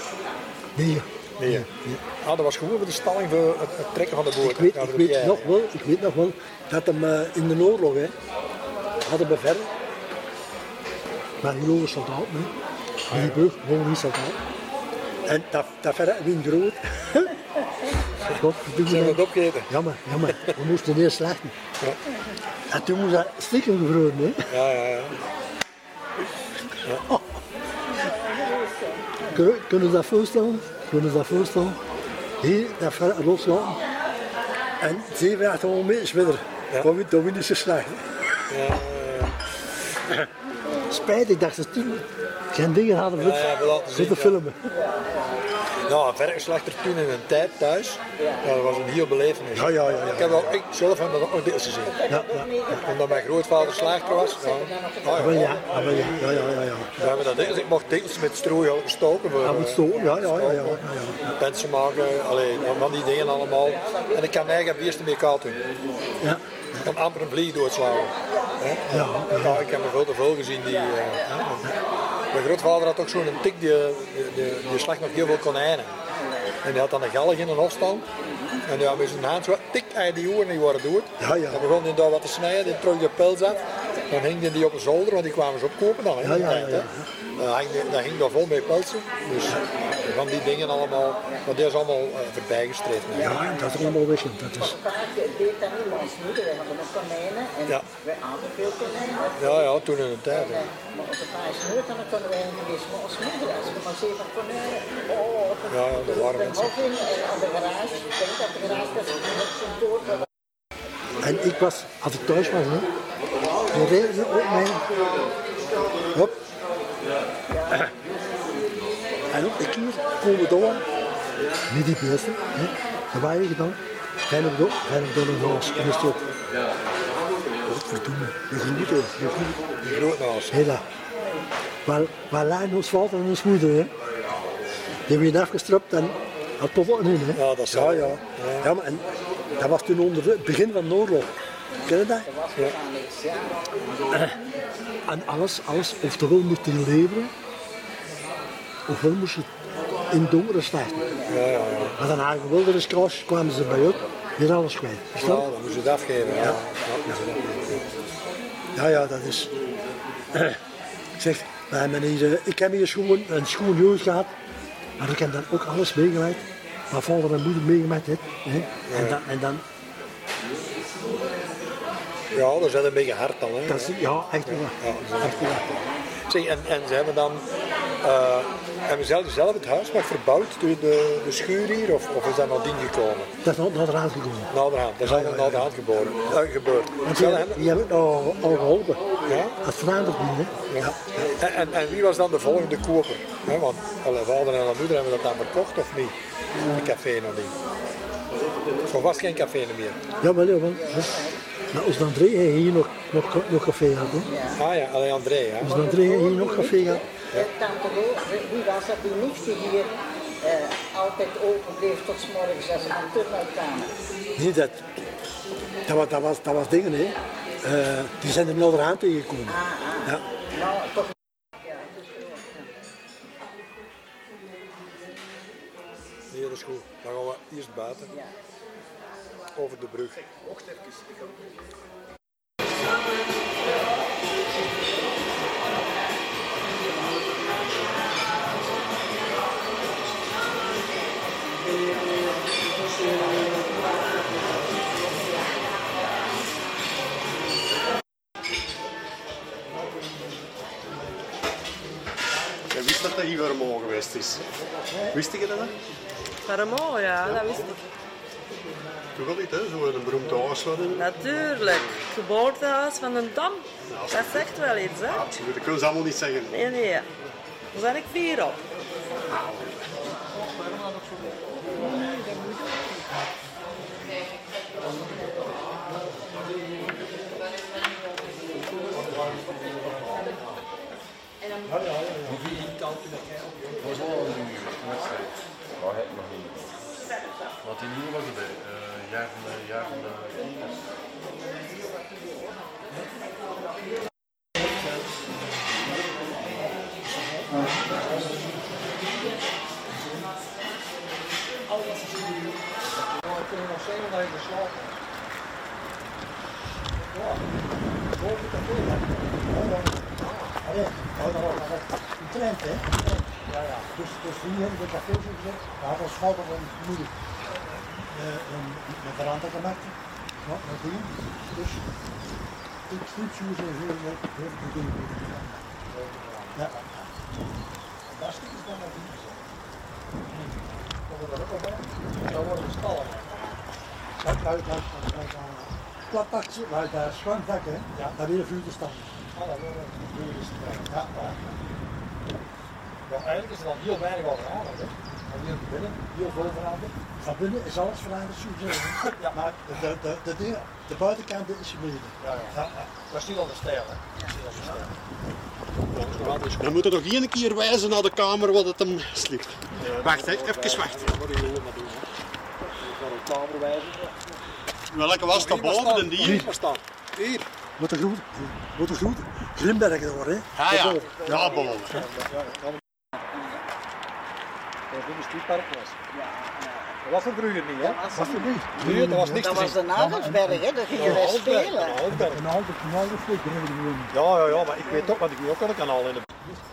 Nee, Nee. Ah, dat was gewoon voor de stalling, voor het, het trekken van de boer. ik weet, ik weet, nog wel, ik weet nog wel dat hem eh, in de oorlog, hè, hadden we verder, maar hier over soldaat, hè. Die Ah, brug, gewoon niet soldaat. En dat, dat verder wint rood. God, doen Zijn we het opgegeten? Jammer, jammer. We moesten eerst slechten. En toen moest dat stikken gevroren, hè. Ja, ja, ja. Kunnen, kunnen we dat voorstellen? Kunnen we dat voorstellen? Hier, dat verder loslaten. En 700, 800 meters verder. Ja. Dan win- Dan winnen ze slechten. Spijtig dat ze toen geen dingen hadden Ja, ja, we laten zien, zitten ja. filmen. Nou, een vergeslachter toen in een tijd thuis, ja, dat was een heel belevenis. Ja, ja, ja, ja. Ik, heb wel, ik zelf heb dat ook deels gezien. Ja, ja. Omdat mijn grootvader slachter was, ja. Ah, Ah, wel ja. ja, ah, wel ja, ja, ja, ja, ja. We hebben dat deels, ik mocht deels met strooi ook stoken. Voor, Ja, Ah, met stoken, ja, ja, ja, ja, ja, Pensen maken, allee, van die dingen allemaal. En ik kan eigenlijk het eerste mee koud doen. Ja, Ik kan amper een vlieg doodslaan. Hè? Ja, Ja, ik heb er veel te veel gezien. Die, eh, hè. Mijn grootvader had ook zo'n tik, die, die, die, die slag nog heel veel konijnen. En die had dan een galg in een hofstand. En ja, met zijn hand zo, tik, hij die oren niet worden doet. Ja, ja. Dan begon hij daar wat te snijden, die trok de pels af. Dan hing hij die op een zolder, want die kwamen ze opkopen dan. Hè, Ja, ja, in de tijd, ja, ja. hè. Dat hing, dat hing daar vol mee peltsen. Dus van die dingen allemaal, maar die is allemaal eh, voorbij gestreefd. Ja, en dat is allemaal weg. en Dat is, Vaak deed dat niet, maar ons moeder, wij hadden ook konijnen en Ja. wij aten veel konijnen. Ja, ja, toen in de tijd. hè. Eh, Maar onze pa is nooit aan de konijnen geweest, maar ons moeder, als we maar zeven konijnen, oh, Ja, ja, dat waren de mensen. hof in en aan de garage, ik denk dat de garage was net zo door, dat was en ik was, als ik thuis was, hè, dan reden ze op mij. Hop. En op de kier komen we door. Niet die beste. Hè. Dat waren je dan. Gaan we door, gaan we door een huis. En dan stop. Wat verdomme. De groeten, de groeten. Die groot naast. Hela. Waar, waar lijn ons vader en ons moeder, hè? Die hebben je afgestrapt en had tot aan hun, hè? Ja, dat is ja, waar. ja. Ja, maar en, dat was toen onder het begin van de oorlog. Ken je dat? Ja. En alles, alles, oftewel moest je leveren, ofwel moest je in het donkere starten. Maar dan hadden we wilde kras, kwamen ze bij op, hier alles kwijt. Ja, Verstaan? dan moest je het afgeven. Ja. Ja, ja, dat is. Ik zeg, wij hebben hier, eh, ik heb hier schoon, een schoon jeugd gehad, maar ik heb dan ook alles meegemaakt. Mijn vader en moeder meegemaakt heeft. Hè? En, dan, en dan, ja, dat is wel een beetje hard dan. Hè. dat is, ja, echt waar. Echt waar. Zeg, en, en ze hebben dan eh, hebben ze zelf, zelf het huis nog verbouwd door de, de schuur hier? Of, of is dat nadien gekomen? Dat is nog naar eraan gekomen. Naderhand, dat is allemaal naderhand geboren, eh, gebeurd. Want Ze die, hebben- die hebben het al, al geholpen. Ja? Dat verandert niet, hè? Ja. En, en, en wie was dan de volgende koper? Hè, want alle vader en alle moeder hebben dat dan verkocht of niet? Een café nog niet. Of was het geen café meer? Jawel, jawel. hè. Maar ons André heeft hier nog, nog, nog café gehad, hè? Ah ja, alleen André. Hè? Ons André heeft hier nog café gehad. Eh, Tante Lo, wie was dat die nicht die hier eh, altijd open bleef tot 's morgens als ze van turnuit kwamen? Niet dat. Dat was, dat was, dat was dingen, hè. Eh, die zijn er nou eraan tegengekomen. Ja. Nou, toch dus- Nee, dat is goed. Dan gaan we eerst buiten. Over de brug. Je wist dat dat hier weer mogen geweest is. Wist je dat? Vermo, Oh ja, dat wist ik. Toch wel niet, hè? Zo'n beroemde huisladder. Natuurlijk. Geboortehuis van een dam. Dat zegt wel iets, hè? Dat kunnen ze allemaal niet zeggen. Nee, nee. Daar ben ik fier op. Maar het nog niet. Wat in nieuw was erbij? eh jaren, eh, jaren eh, vier. Allee, hou daar al aan. Een trein, hè? Ja, ja. Dus, dus hier hebben we café gezet. Daar hadden ons vader en moeder eh, een, een veranda gemaakt. Ja, dat ding. Dus ik goed zo zo heel leuk. Heel goed doen. Ja. En dat is iets dan nog niet. Dat wordt er ook al bij. Dat wordt een stal. Dat luidt uit. Dat luidt aan. Klapakje, luidt daar schwankdak, hè? Ja. Daar weer een vuur te staan. Ja, Ja, eigenlijk is er dan heel weinig al veranderd. Hè? Maar Hier binnen, heel veel veranderd. Van binnen is alles veranderd, zo gezegd. Ja. Maar de, de, de, de, de buitenkant is gemeden. Ja, ja. Dat is niet al de stijl. Hè? Dat is niet al de stijl. Dat is nog altijd Dan moet je nog één keer wijzen naar de kamer wat het hem slikt. Wacht, hè. even wachten. Dat moet je gewoon maar doen. hè. Dat is wel een kamer wijzen. Welke was dat boven de dier? Hier staan. Hier. Wat een groet. Wat een groet. Ah, Grimbergen hoor, hè? Ah ja, ja boven. Ja, ja. nog in het stuurpark was. Dat was er vroeger niet, hè? was Was er niet? Nu, dat was niks Dat te was de zien. Nagelsberg, hè? Daar gingen wij Een halfberg, spelen. een halfberg. Een halve kanaal of twee kregen we gewoon. Ja, ja, ja, maar ik weet ook, want ik moet ook aan een kanaal in de...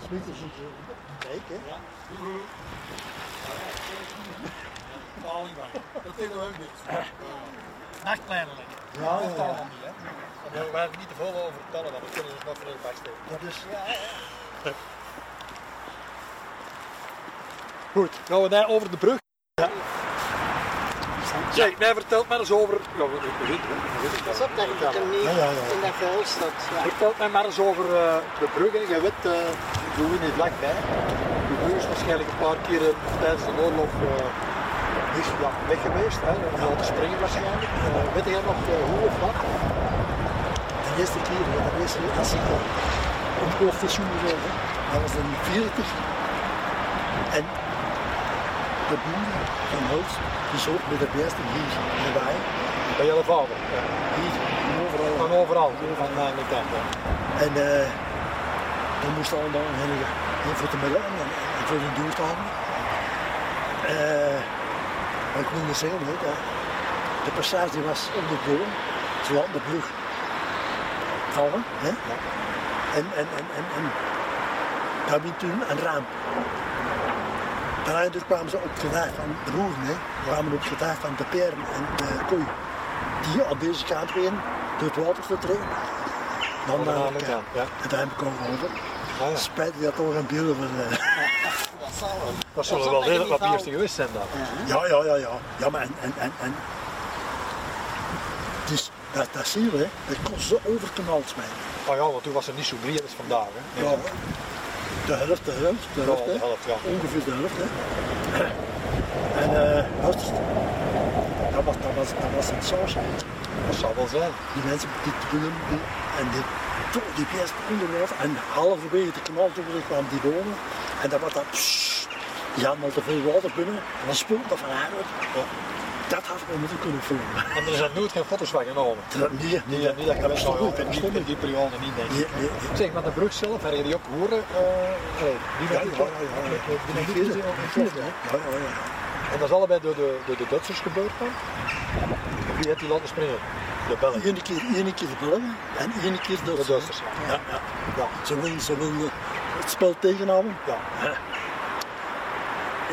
Smieters. Kijk, hè? Ja. Dat is ook niet. Nachtkleinen liggen. Ja, ja, ja. allemaal niet, hè? Daar mag ik niet te veel over vertellen, want we kunnen dus nog voor heel vast Dat is, Goed, gaan we daar over de brug? Ja. Zeg, mij vertelt maar eens over. Ja, we- we- we zitten, hè. We zitten. Pas op dat je hem niet Ja, ja, ja. in dat vuil staat. Ja. Vertelt mij maar eens over eh, de brug. hè. Jij weet, eh doen we niet lang bij. Die brug is waarschijnlijk een paar keer eh, tijdens de oorlog eh, is, ja, weg geweest. Hè. Om jou te springen waarschijnlijk. Eh, weet jij nog eh, hoe of wat? De eerste keer, ja, de eerste keer als ik eh, ontploft is zoegezogen, dat was in 40. En de boer van Hulst, die zocht met de beste hier erbij, Bij jouw vader. Ja. hier, en overal. Van overal. Van uh, mijn kant. hè. En eh we moesten allemaal een hele heel voor de melon en, en voor de duur houden. Eh, maar ik wilde zeggen, hè, dat de passage was op de boom, zowel de brug vallen. Hè? En, en, en, en, en daar liep toen een raam. Daarna kwamen ze op het gedrag van de roeren, hè? kwamen op het gedrag van de peren en de koei. Die op deze kant gingen door het water te trainen. Dan Onder naar andere elkaar. kant, ja. En daar heb ik ook over. Ah, ja. Spijt dat toch een beelden van. eh, Dat zullen wel redelijk wat biersten geweest zijn dan. Ja, ja, ja, ja. Ja, maar en, en, en, en. Dus dat, dat zie je, hè. Dat kost zo overknald mij. Oh ja, want toen was het niet zo breed als vandaag. Hè. Ja. De helft, de helft, de helft. de hè. helft, ja. Ongeveer de helft, hè. En eh, dat, is- dat, was, dat, was, dat was een saus. hè. Dat zou wel zijn. Die mensen, die doen die, en die toch die pest onderuit en halverwege de kanaal toen kwam die bomen. En dan was dat, pssst, die hadden al te veel water binnen en dan spoelt dat van haar uit. Ja, dat had ik me moeten kunnen filmen. En er zijn nooit geen foto's van genomen. Dat- Nee, Nee, ja, niet eh, dat kan ik stond nog goed, in dat die, stond in goed. die periode niet denk ik. Nee, nee, nee. Zeg, maar de brug zelf, hebben jullie ook horen? eh nee, die Ja, ja, nog niet, ja, hoor. ja, ja. Die nog niet Die gezien, vierde, ook die niet vierde, gezien, hè. Ja, ja, ja. hè. En dat is allebei door de, door de Duitsers gebeurd dan? Wie heeft die laten springen? De Belgen. Eén keer, één keer de Belgen en één keer de De Duitsers. Ja, Ja. ja. Ze wilden, ze wilden het spel tegenhouden. Ja.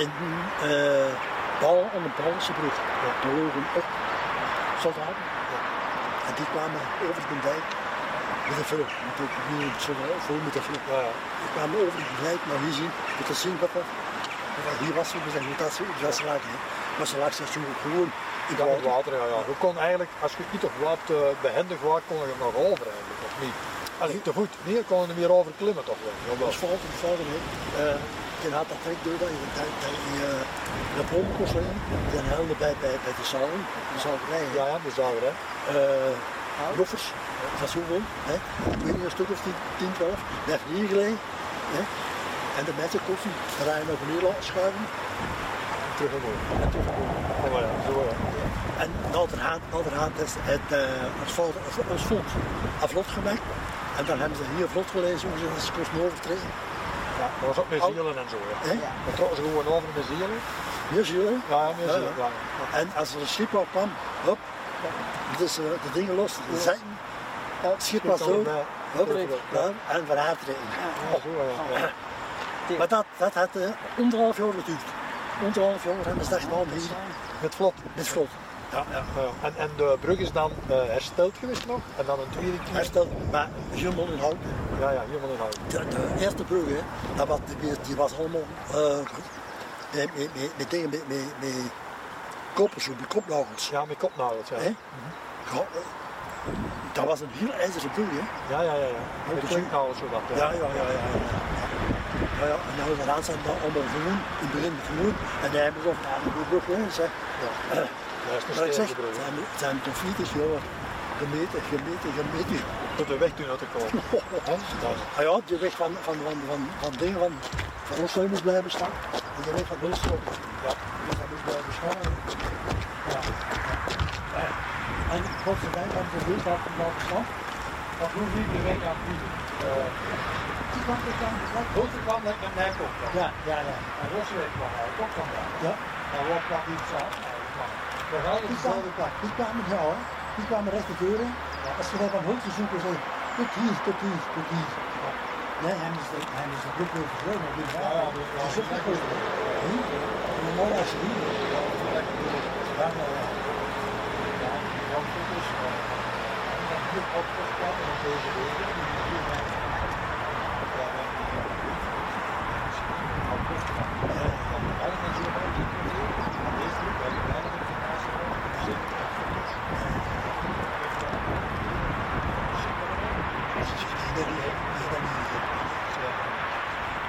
in eh bal aan de Ballense brug. Daar logen op soldaten. En die kwamen over de dijk met een vlug. Met een nieuwe soldaat, vol met een vlug. Ja, ja. Die kwamen over de dijk naar hier zien, met de zien wat er wat hier was. We zeggen, dat ze dat ze lagen. hè. Maar ze lagen zich zo gewoon in Ja, het het water. water, ja, ja. Je kon eigenlijk, als je niet op wat eh, behendig was, kon je het nog over eigenlijk, of niet? Allee, te goed. Nee, je kon je er weer over klimmen toch wel. Jawel. Dat was fout, dat fout, hè. Eh, je had dat trek door dat je dat, dat je eh, de bom kon slaan. Dan huilde bij, bij, bij de zaal, de zaalderij. hè. Ja, ja, de zager, hè. eh joffers van zoveel. Hè. Ik weet niet, een stuk of 10, 10 12. Daar heb je hier gelegen. Hè. En de mensen koffie, daar ga je nog beneden laten schuiven. Terug omhoog. En terug omhoog. Oh, ja, zo, ja. En Nalderhaat, Nalderhaat is het eh, asfalt, asfalt aflot gemaakt. En dan hebben ze hier vlot gelezen hoe ze dat kosten overtreden. Ja, dat was ook met zielen en zo, ja. Hè. Dan trokken ze gewoon over met zielen. Hier zie je. Ja, ja, met zielen, ja. En als er een schip op kwam, hop, dus eh, de dingen los, de zijn. Het schip was Schip was dood, erbij. hop, ja, en van haar trekken. Ja, zo, Oh, ja. ja. Maar dat, dat had eh, anderhalf jaar geduurd. Anderhalf jaar hebben ze dat gedaan hier Met vlot. met vlot. Ja, ja, ja. Eh, En, en de brug is dan eh, hersteld geweest nog? En dan een tweede keer? Herstel, maar Jummel en Hout, Ja, ja, helemaal in hout. de, de eerste brug, hè, dat was, die, die was allemaal eh, met, met, met, met dingen, met, met, met koppers, met kopnagels. Ja, nou, met kopnagels, ja. Hè? Ja, eh, dat was een heel ijzeren brug, hè. Ja, ja, ja. ja. Met te zien. kopnagels, zo dat. Ja, ja, ja, ja. ja. Ja, ja, en nou, daarna zijn dat allemaal groen, in het begin groen, en dan hebben ze nog naar de brug, hè, zeg. Dat is Maar een ik stevige zeg, het brug. hè. zijn, het zijn toch fietsers, jongen. Gemeten, gemeten, gemeten. Tot de weg toen uit te komen. Hè? Dat is- Ah ja, die weg van, van, van, van, van dingen van, van Rosslijn moest blijven staan. En die weg van Wilstroom. Ja. Die weg van moest blijven staan. Eh, Ja. En godzijdank kwam de wind had hem laten staan. dat hoef ik de weg aan Eh, vliegen. Holte kwam dat met mij komt. Ja, ja, ja. En Roswijk kwam hij ook vandaan. Ja. En wat kwam iets aan? We gaan Die het kwamen, zelfde kant. die kwamen ja, hoor. Die kwamen recht de deuren. Als ze daar van hulp zoeken, zei tot hier, tot hier, tot hier. Nee, hij is de, hij is de groep weer verdwenen. Die waren ja, al die- ja, die zoeken die- goed. Hier, en dan als ze hier. Ja, ja, ja.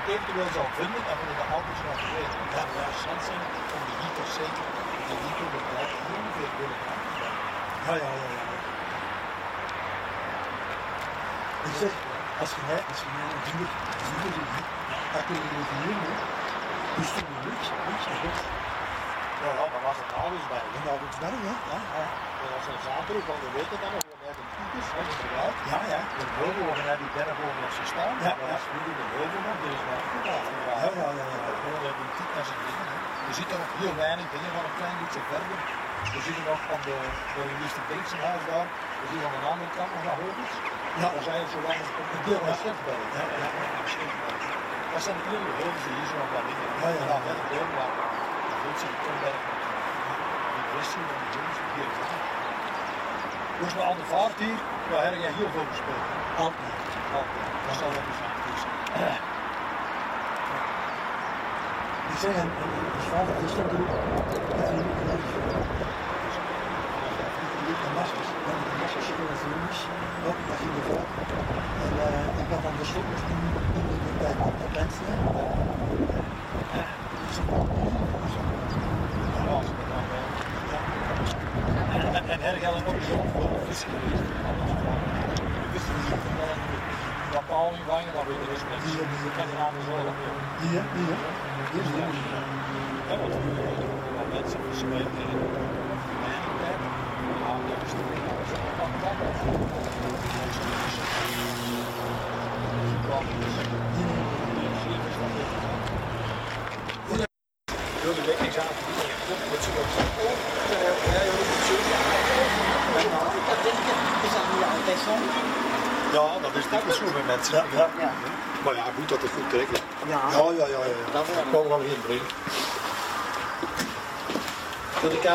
Eventueel zou vinden dat we de ouders nog weten. Dat we interessant zijn om die niet te zeker en niet door de plek ongeveer willen gaan. Ja, ja, ja, ja. Ik zeg, als je mij, als je mij een duur, duur doet, hè, dan kun je het hier doen. Dus toen je niks, niks en goed. Ja, ja, maar was het ouders bij? En dan iets berg, hè. Ja, ja, Dat was een zaterdag, want we weten dat nog, we hebben piekers, hè, dat is wel. ja. ja. De heuvel, we hebben die berg over ons gestaan. Ja. maar als we nu de dus heuvel nog, dit is wel goed afgegaan. Ja, ja, ja, ja. We hebben een tien naar zijn dingen. hè. We zitten nog heel weinig binnen van een klein beetje verder. We zitten nog van de, de minister Beeksen huis daar. We zien aan de andere kant nog naar heuvels. Ja. Daar zijn zo weinig op de deel van Schiffberg. Ja, ja, ja. Schiffberg. Dat zijn de kleine heuvels die hier zo nog wel liggen. Ja, ja. En dan verder door, maar de Beeksen, de Tomberg, de Wessie en de Jones, hier verder. Dus we aan de vaart hier, daar heb je heel veel gespeeld. Altijd. Altijd. Dat zal wel eens zijn. Ik zeg, en, en, en die vader die stond er ook. En die liep langs. Die liep de maskers. Ja, die maskers zitten in de filmpjes. Ja, dat ging ervoor. En eh, ik had dan de slippers in, in de, in de, op de pens. hè. Ja, die zat op de liefde, zo. En hergellen ook zo voor de vissen geweest. De vissen die zitten wel in de- dat paal niet vangen, dat weet je dus met Hier, hier. de kenramen zo. dat je- Die, hè, die, hè. Die is goed. Ja, want we hebben ook wel mensen die spelen in de eigen tijd. Maar dat is toch niet alles. Dat kan wel. Die mensen die vissen. Die kwamen dus. Die vier is dat ook. Door de week niks aan te doen. Dat ze ook zeggen, oh, jij hoort het zo. Dat denk ik, is dat niet altijd zo? Ja, dat is dikwijls zo bij mensen. Ja. Maar ja, goed dat het goed trekt. hè. Ja. ja, ja. ja. Dat kwam wel geen bril. Doe ik